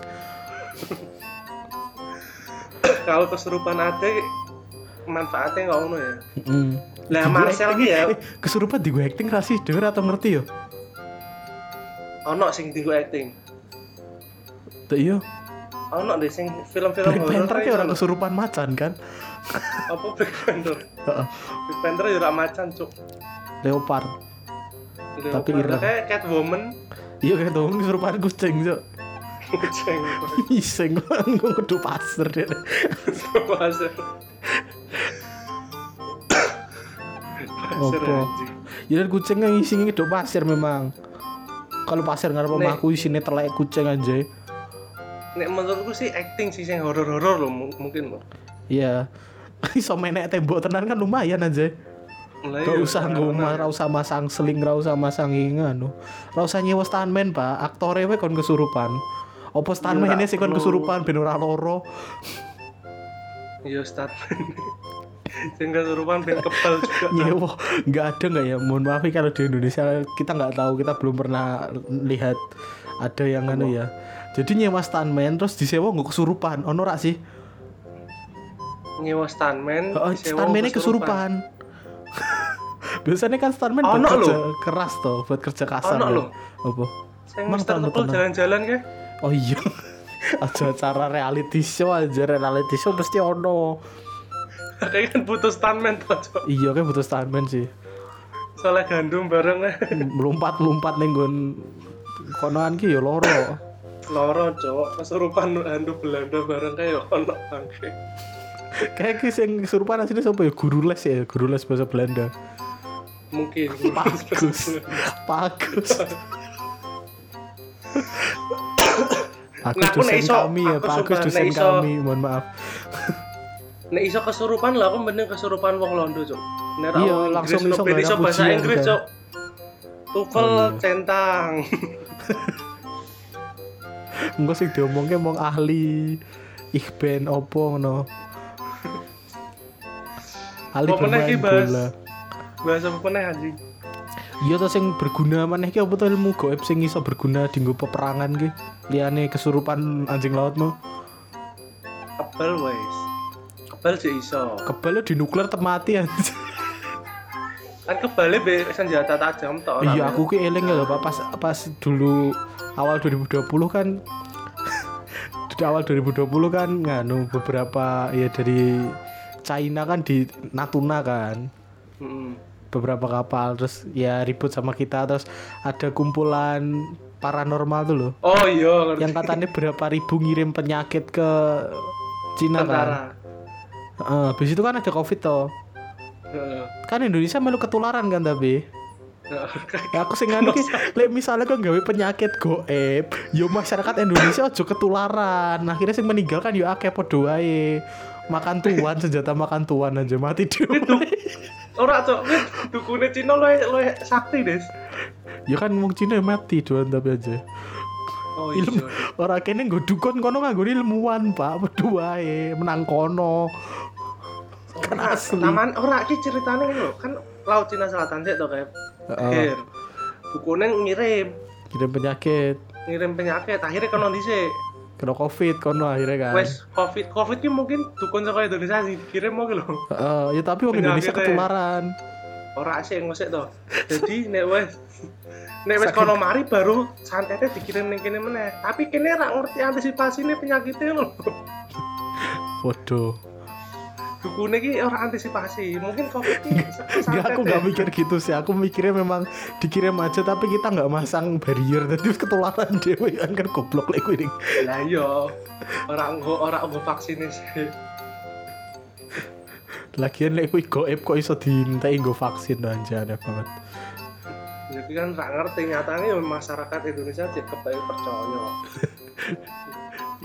S3: Kalau kesurupan ada manfaatnya nggak ngono ya.
S2: heeh
S3: Lah Marcel ki ya
S2: eh, kesurupan di acting ra sih dhewe atau ngerti ya? yo
S3: ono sing tinggu acting.
S2: Tuh iya,
S3: Ono deh sing film-film
S2: Black
S3: horor.
S2: Panther
S3: kan
S2: ki ora
S3: ono.
S2: kesurupan macan kan?
S3: Apa Black Panther?
S2: Heeh.
S3: Black Panther ya ora macan, Cuk.
S2: Leopard. Tapi
S3: Leopard.
S2: ireng.
S3: kayak Catwoman
S2: Iya kayak tuh kesurupan kucing yo.
S3: kucing.
S2: Iseng kan gue kudu pasir deh.
S3: Pasir. Pasir
S2: Apa?
S3: anjing.
S2: Ya dan kucing yang isinya kudu pasir memang. Kalau pasir ngarep
S3: Nek.
S2: omahku isine telek kucing anjay.
S3: Nek menurutku sih acting sih sing horor-horor loh mu- mungkin loh.
S2: Iya. Iso menek tembok tenan kan lumayan aja.
S3: Mulai
S2: Gak
S3: ya,
S2: usah nggo omah,
S3: karena-
S2: ra usah masang seling, ra usah masang inganu. Ra usah nyewa stuntman, Pak. Aktore we kon kesurupan. Apa stuntman
S3: Iya,
S2: ini
S3: ra
S2: sih kon
S3: perlu.
S2: kesurupan ben ora loro.
S3: Iya Starman Sing kesurupan ben kebal juga
S2: Nyewa Iya, nggak ada nggak ya? Mohon maaf ya kalau di Indonesia kita nggak tahu, kita belum pernah lihat ada yang anu ya. Jadi nyewa stuntman terus disewa nggak kesurupan. Ono rak sih?
S3: Nyewa stuntman
S2: Heeh,
S3: disewa
S2: stuntman-nya kesurupan. Biasanya kan stuntman buat
S3: Ono
S2: kerja keras toh, buat kerja kasar.
S3: Ono
S2: ya.
S3: lho.
S2: Apa?
S3: Sing
S2: Emang
S3: Mister
S2: tambah
S3: Tebel
S2: tenang.
S3: jalan-jalan ya. ke
S2: Oh iya. Aja acara reality show aja reality show pasti ono.
S3: Kayaknya kan butuh stuntman tuh Cok.
S2: Iya kan butuh stuntman sih.
S3: Soalnya gandum bareng eh.
S2: Melompat-lompat ning nggon konoan ki ya loro.
S3: Loro cok Kesurupan handuk Belanda bareng kayak ono bangke
S2: Kayak ki sing kesurupan asline sapa ya guru les ya, guru les bahasa Belanda.
S3: Mungkin
S2: Bagus. Bagus. Bagus
S3: Nah, Aku nek
S2: dosen
S3: iso,
S2: kami ya,
S3: aku
S2: bagus
S3: sumpah, nek
S2: dosen
S3: iso.
S2: kami, mohon maaf.
S3: Nek iso kesurupan lah aku mending kesurupan wong Londo cok Nek
S2: Iya,
S3: orang
S2: langsung
S3: Inggris
S2: iso nggak
S3: nopo ben
S2: ada
S3: iso bahasa
S2: pujian,
S3: Inggris
S2: kan.
S3: cok Tufel
S2: Oh, iya.
S3: centang
S2: Engko sing diomongke mong ahli Ikhben opo ngono. Ali
S3: Apa
S2: bermain
S3: meneh ki, Bas?
S2: bola.
S3: bahasa apa meneh anjing
S2: Iya to sing berguna maneh ki apa to ilmu goib sing iso berguna dinggo peperangan ki. Liyane kesurupan anjing laut mau.
S3: kebal wes kebal sih iso
S2: Kebal di nuklir temati anjing.
S3: kan kebalnya be senjata tajam toh
S2: Iya aku ki eling ya lho Pak pas pas dulu awal 2020 kan di awal 2020 kan nganu beberapa ya dari China kan di Natuna kan
S3: Mm-mm.
S2: beberapa kapal terus ya ribut sama kita terus ada kumpulan paranormal tuh loh
S3: oh iya ngerti
S2: yang katanya berapa ribu ngirim penyakit ke Cina kan
S3: tentara
S2: Heeh, habis itu kan ada covid toh
S3: Heeh.
S2: kan Indonesia melu ketularan kan tapi
S3: Heeh.
S2: Ya, aku sing nganu ki lek misale kok gawe penyakit goib yo masyarakat Indonesia aja ketularan akhirnya sing meninggal kan yo akeh padha wae makan tuan senjata makan tuan aja mati dhewe
S3: Ora cok, wis dukune Cina lu lu sakti, Des.
S2: ya kan wong Cina mati doan tapi aja
S3: Oh
S2: ilmu ora kene nggo dukun kono nganggo ilmuwan Pak padha wae menang kono kan asli
S3: Nah, Taman ora iki ceritane ngono lho, kan Laut Cina Selatan sik to, Kep.
S2: Heeh,
S3: Akhir. Dukune ngirim,
S2: kirim penyakit
S3: ngirim penyakit, akhirnya kena dhisik.
S2: kena covid kono akhirnya kan
S3: Wes Covid, Covid ki mungkin dukun saka Indonesia sih dikirim mau ki lho.
S2: Heeh, ya tapi wong Indonesia
S3: Penyakitnya.
S2: ketularan
S3: Ora sik ngosik to. Jadi nek wes nek wes kono mari baru santetnya dikirim ning kene meneh. Tapi kene ra ngerti antisipasine penyakitnya lho.
S2: waduh
S3: Dukune ki ora antisipasi. Mungkin Covid ki
S2: Enggak, aku
S3: santet, ya.
S2: nggak
S3: Des.
S2: mikir gitu sih. Aku mikirnya memang dikirim aja tapi kita nggak masang barrier tadi ketularan dewe kan kan goblok lek kuwi.
S3: lah yo orang nggo orang nggo vaksin sih
S2: Lagian lek kuwi goib kok iso diintai nggo vaksin tuh aja ada banget.
S3: jadi kan nggak ngerti nyatanya yo masyarakat Indonesia cek kebaik percaya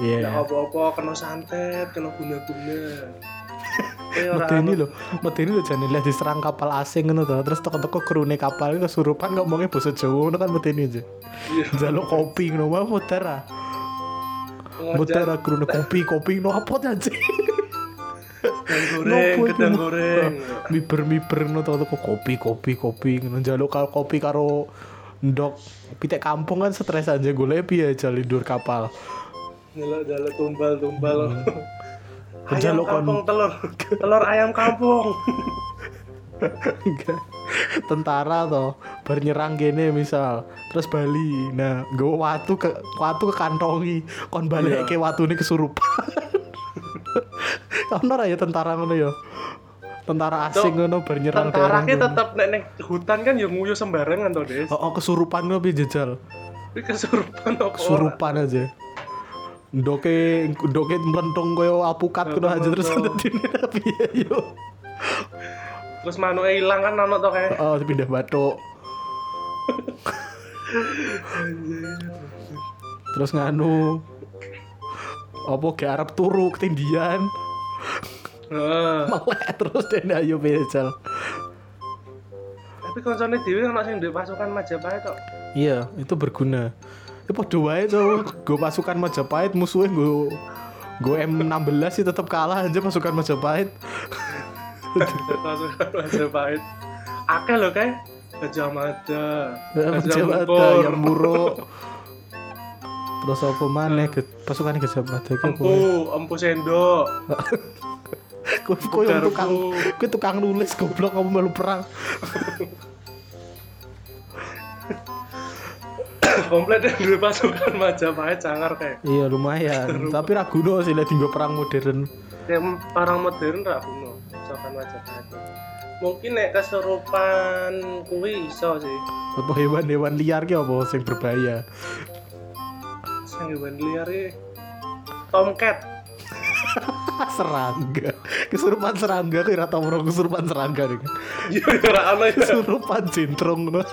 S2: Iya.
S3: ya apa-apa kena santet kena guna-guna Eh, orang
S2: Medeni lho, medeni lho jane lek diserang kapal asing ngono to. Terus teko-teko krune kapal itu kesurupan ngomongnya bahasa Jawa ngono kan medeni aja.
S3: Iya.
S2: Jaluk kopi ngono wae muter ah.
S3: ngojan,
S2: Muter ah, krune kopi, kopi ngono apa tuh anjing.
S3: gedang goreng
S2: Nopo iki,
S3: gedang
S2: Mas?
S3: goreng
S2: miber miber no tau kok kopi kopi kopi ngono njaluk karo kopi karo ndok pitik kampung kan stres aja gue lebih aja lindur kapal
S3: jaluk jaluk tumbal tumbal ayam
S2: Njaluk Hmm. kon-
S3: kampung telur telur ayam kampung
S2: tentara toh bernyerang gini misal terus Bali nah gue watu ke watu ke kantongi kon balik
S3: Iya.
S2: ke watu ini kesurupan ono ra ya tentara ngono ya tentara asing ngono bernyerang
S3: tentara ki
S2: daerah ngono.
S3: tetep nek nek hutan kan yo nguyu sembarangan to Des
S2: oh, oh, kesurupan ngono piye jajal
S3: Ini kesurupan apa ora?
S2: kesurupan aja doke doke melentung koyo apukat kudu aja terus ada dini tapi ya yo
S3: terus manuke ilang kan ono to kayak
S2: oh pindah batuk terus nganu apa ke Arab turu ketindian
S3: Heeh.
S2: melek terus dene ayo bejal
S3: Tapi koncone dhewe ana sing duwe pasukan Majapahit kok.
S2: iya itu berguna ya padha wae cowok gue pasukan Majapahit musuhnya gue gue M16 sih tetap kalah aja pasukan Majapahit
S3: Pasukan Majapahit. Akeh lho kae Gajah Mada.
S2: Ya, Gajah Mada yang buruk. Terus apa maneh Ge- pasukan Gajah Mada ki
S3: Empu, empu sendok.
S2: kowe kowe yang
S3: Garpu.
S2: tukang kowe tukang nulis goblok kamu melu perang.
S3: Komplit yang duwe pasukan Majapahit sangar kae.
S2: Iya lumayan, tapi ra guna sih lek dinggo perang modern.
S3: Yang parang modern ra kuno. Pasukan Majapahit. Mungkin nek keserupan kuwi iso sih.
S2: Apa hewan-hewan liar ki apa sing berbahaya?
S3: Sing hewan liar iki. Tomcat.
S2: Ah, serangga. Kesurupan serangga ki ra tau merong kesurupan serangga nih.
S3: Iya ora ana ya.
S2: Kesurupan jentrong ngono.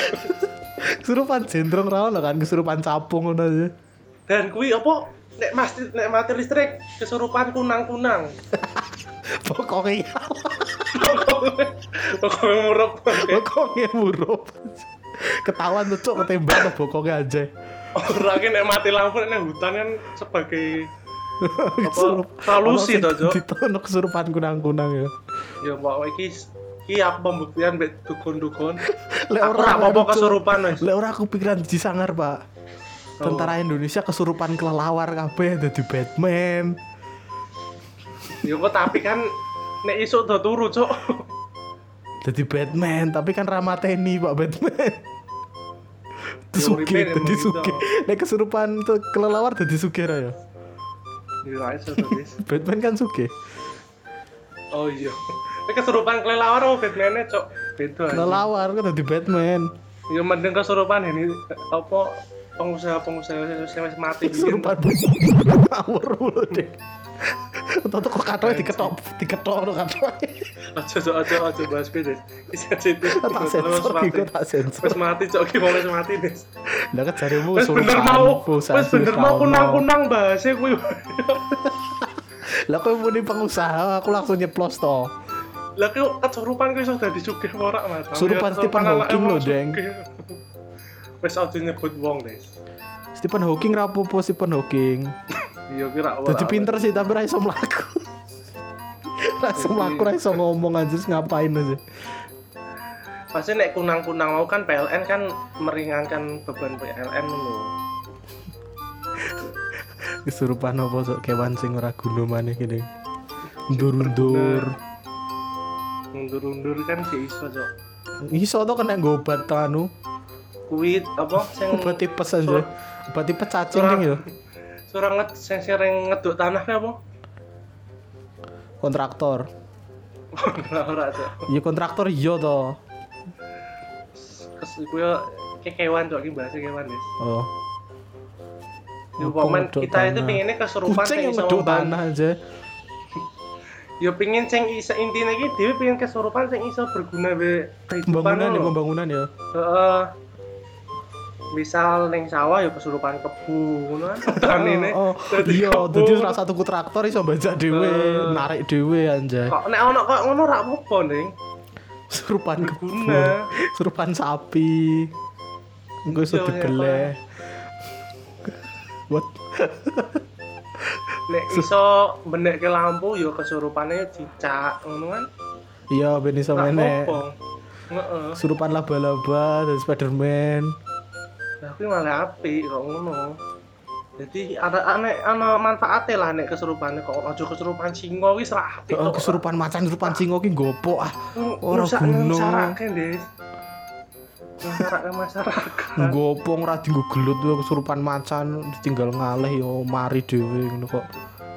S2: kesurupan jentrong ra ono kan kesurupan capung ngono ya. aja.
S3: Dan kuwi apa? Nek mati, nek mati listrik kesurupan kunang-kunang.
S2: Pokoknya
S3: Pokoknya murup.
S2: bokongnya buruk ketahuan tuh cok ketembak tuh bokongnya aja
S3: Orang ini nek mati lampu nek hutan kan sebagai Apa solusi to, Jo?
S2: Ditono kesurupan kunang-kunang ya.
S3: Ya mbok iki iki aku pembuktian mbek dukun-dukun.
S2: Lek
S3: Aku ora
S2: ngono, Jo.
S3: apa-apa kesurupan Oh. wis.
S2: Lek ora aku pikiran disangar, Pak. Tentara Indonesia kesurupan kelelawar kabeh dadi Batman.
S3: Ya kok tapi kan nek isuk do turu, Cuk.
S2: Dadi Batman, tapi kan ramateni Pak Batman.
S3: Ya,
S2: Suge,
S3: uripnya emang
S2: dadi
S3: gitu.
S2: suge. Nek kesurupan tuh kelelawar dadi suge ra ya.
S3: Ya iso to, Dis.
S2: Batman kan suge.
S3: Oh iya. Nek kesurupan kelelawar mau Batman-e, Cuk. Beda. aja.
S2: Kelelawar kan dadi Batman.
S3: Ya mending kesurupan ini apa pengusaha-pengusaha sing wis mati
S2: Kesurupan awur mulu deh. Toto kok katoke diketok, diketok no katoke.
S3: Aja Cuk, aja aja bahas kuwi, Dis. Iki sensitif.
S2: Tak sensor iku tak sensor.
S3: Wis mati, Cuk. Iki mau wis mati, Dis.
S2: Lah kan jaremu
S3: Wis bener mau.
S2: Oh,
S3: Wis bener mau kunang-kunang bahasnya kuwi.
S2: Lah kowe muni pengusaha, aku langsung nyeplos to.
S3: Lah ki kesurupan kuwi iso dadi sugih apa ora Mas.
S2: Surupan
S3: Ya,
S2: Stephen
S3: kesurupan
S2: Hawking lho,
S3: ala- ala
S2: Deng.
S3: sugih. Wis aja nyebut wong, Des.
S2: Stephen Hawking rapopo Stephen Hawking.
S3: Iya ki ra ora.
S2: Dadi pinter sih tapi ra iso mlaku. Ra iso mlaku, ra iso ngomong anjir ngapain aja.
S3: Pasti nek kunang-kunang mau kan PLN kan meringankan beban PLN ngono.
S2: Kesurupan apa sok kewan sing ora guna maneh kene. Ndur-ndur.
S3: Mundur-mundur kan sih iso, Cok.
S2: Iso to kena nggo obat to anu.
S3: Kuwi apa sing
S2: Obat tipes aja. Obat tipes cacing
S3: Ora.
S2: ding ya.
S3: surang nged sing sering ngeduk tanah ki apa?
S2: Kontraktor.
S3: Ora ora, Cok.
S2: Iya kontraktor iya to.
S3: Kes kuwi ki kewan, Cok, ki bahasa kewan, Des.
S2: Oh.
S3: Ya
S2: Apa
S3: pokoknya
S2: ngeduk
S3: kita itu
S2: tanah?
S3: pinginnya
S2: Kucing
S3: kesurupan sing
S2: yang
S3: iso
S2: ngeduk
S3: membantu
S2: tanah aja.
S3: ya pengen sing isa intine iki dhewe pengen kesurupan sing iso berguna be
S2: Pembangunan ya
S3: lho.
S2: pembangunan ya.
S3: Heeh. misal ning sawah ya kesurupan kebu ngono kan hutan ini
S2: Oh, oh.
S3: dadi
S2: iya,
S3: kebu.
S2: dadi salah satu ku traktor iso mbajak dhewe,
S3: Eh.
S2: narik dhewe anjay.
S3: kok nek ono kok ngono ra apa-apa ning
S2: Serupan kebun,
S3: Berguna.
S2: serupan sapi. Engko iso
S3: Iya,
S2: dibeleh. What?
S3: nek iso benekke lampu ya kesurupane cicak ngono kan
S2: Iya, ben iso
S3: ra
S2: meneh.
S3: apa heeh
S2: Serupan laba-laba dan Spiderman.
S3: Lah, kuwi malah apik kok ngono jadi ada aneh ana manfaatnya lah nek kesurupane kok aja kesurupan singa wis ra apik
S2: Oh,
S3: kok.
S2: kesurupan macan, serupan singo ki gopo ah. Ora
S3: Ora
S2: guna.
S3: guna. Masarake, Des. Masarake masyarakat.
S2: Gopo ora dienggo gelut wae, kesurupan macan ditinggal ngalih yo mari dhewe ngono kok.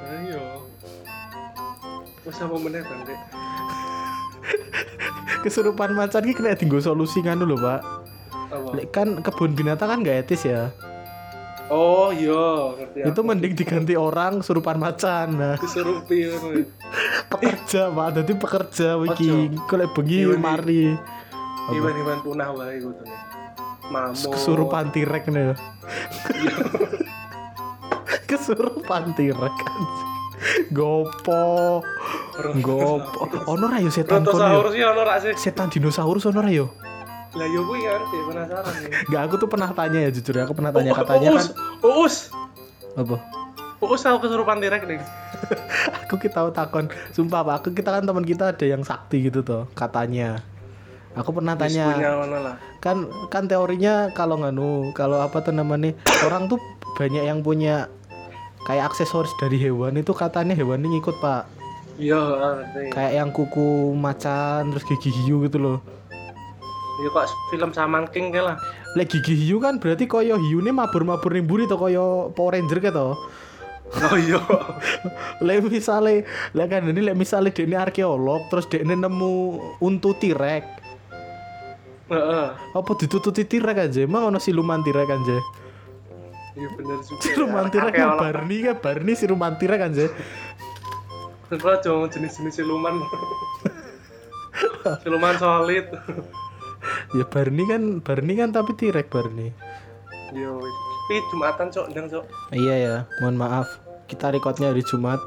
S3: Ayo. Wes apa meneh, Bang, Dek?
S2: Kesurupan macan ki kena dienggo solusi ngono lho, Pak.
S3: Apa?
S2: Lek kan kebun binatang kan gak etis ya.
S3: Oh, iya, ngerti.
S2: Itu mending diganti orang kesurupan macan. Nah,
S3: disurupi ngono. ya.
S2: pekerja, Pak. Dadi pekerja iki. Kalau bengi
S3: Iya, iya.
S2: mari
S3: Iwan-iwan punah wae kudu. Mamut.
S2: kesurupan tirek nih. kesurupan tirek anjing. Gopo. Gopo. Ono ra yo setan kono yo.
S3: Brontosaurus ya ono rak sih.
S2: Setan dinosaurus ono ra yo.
S3: Lah yo kuwi kan Dek, penasaran. ya. Oh,
S2: Gak aku tuh pernah tanya ya jujur ya, aku pernah tanya katanya
S3: Uus,
S2: kan
S3: Uus.
S2: apa?
S3: Uus tau Oh, kesurupan tirek, Dek.
S2: aku kita tahu takon sumpah pak aku kita kan teman kita ada yang sakti gitu tuh katanya aku pernah
S3: Wis punya
S2: tanya
S3: ono lah.
S2: kan kan teorinya kalau nganu kalau apa tuh namanya orang tuh banyak yang punya kayak aksesoris dari hewan itu katanya hewan ini ngikut pak
S3: Iya, ngerti.
S2: kayak yang kuku macan terus gigi hiu gitu loh
S3: Ya kok film Saman King kae lah.
S2: lek gigi hiu kan berarti koyo hiu ini mabur-mabur ning buri tuh koyo Power Ranger gitu
S3: Oh iya.
S2: lek misale lek kan ini lek misale dia ini arkeolog terus dia ini nemu untu tirek
S3: Heeh.
S2: apa ditututi tirek aja emang ono siluman tirek aja
S3: Iya bener juga.
S2: siluman tirek
S3: Akeh
S2: kan
S3: orang-
S2: Barney kan Barney siluman tirek aja
S3: Terus aja ngomong jenis-jenis siluman. siluman solid.
S2: ya Barney kan Barney kan tapi tirek Barney
S3: Yo Iya, wis. Pi Jumatan cok, ndang cok.
S2: iya ya mohon maaf kita recordnya hari Jumat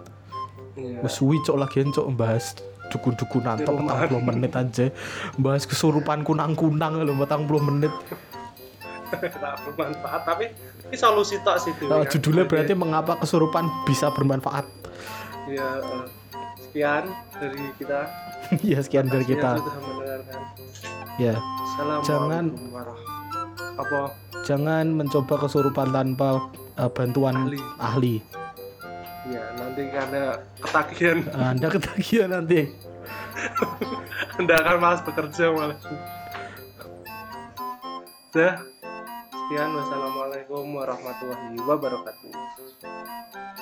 S3: Iya.
S2: wes suwi cok lagian cok bahas dukun-dukun nanto
S3: Siluman.
S2: petang puluh menit aja bahas kesurupan kunang-kunang lho petang puluh menit
S3: Nah, bermanfaat tapi ini solusi tok sih Dewi,
S2: Oh,
S3: kan.
S2: judulnya
S3: Jadi,
S2: berarti mengapa kesurupan bisa bermanfaat.
S3: ya, eh, sekian dari kita
S2: ya sekian dari
S3: Makasih yang
S2: kita.
S3: sudah mendengarkan
S2: Ya,
S3: Assalamualaikum
S2: Jangan-
S3: warahmatullahi apa
S2: jangan mencoba kesurupan tanpa eh, bantuan
S3: Ahli.
S2: ahli.
S3: ya nanti karena ketagihan
S2: Anda ketagihan nanti.
S3: Anda akan malas bekerja malah. Dah. Sekian wassalamualaikum warahmatullahi wabarakatuh.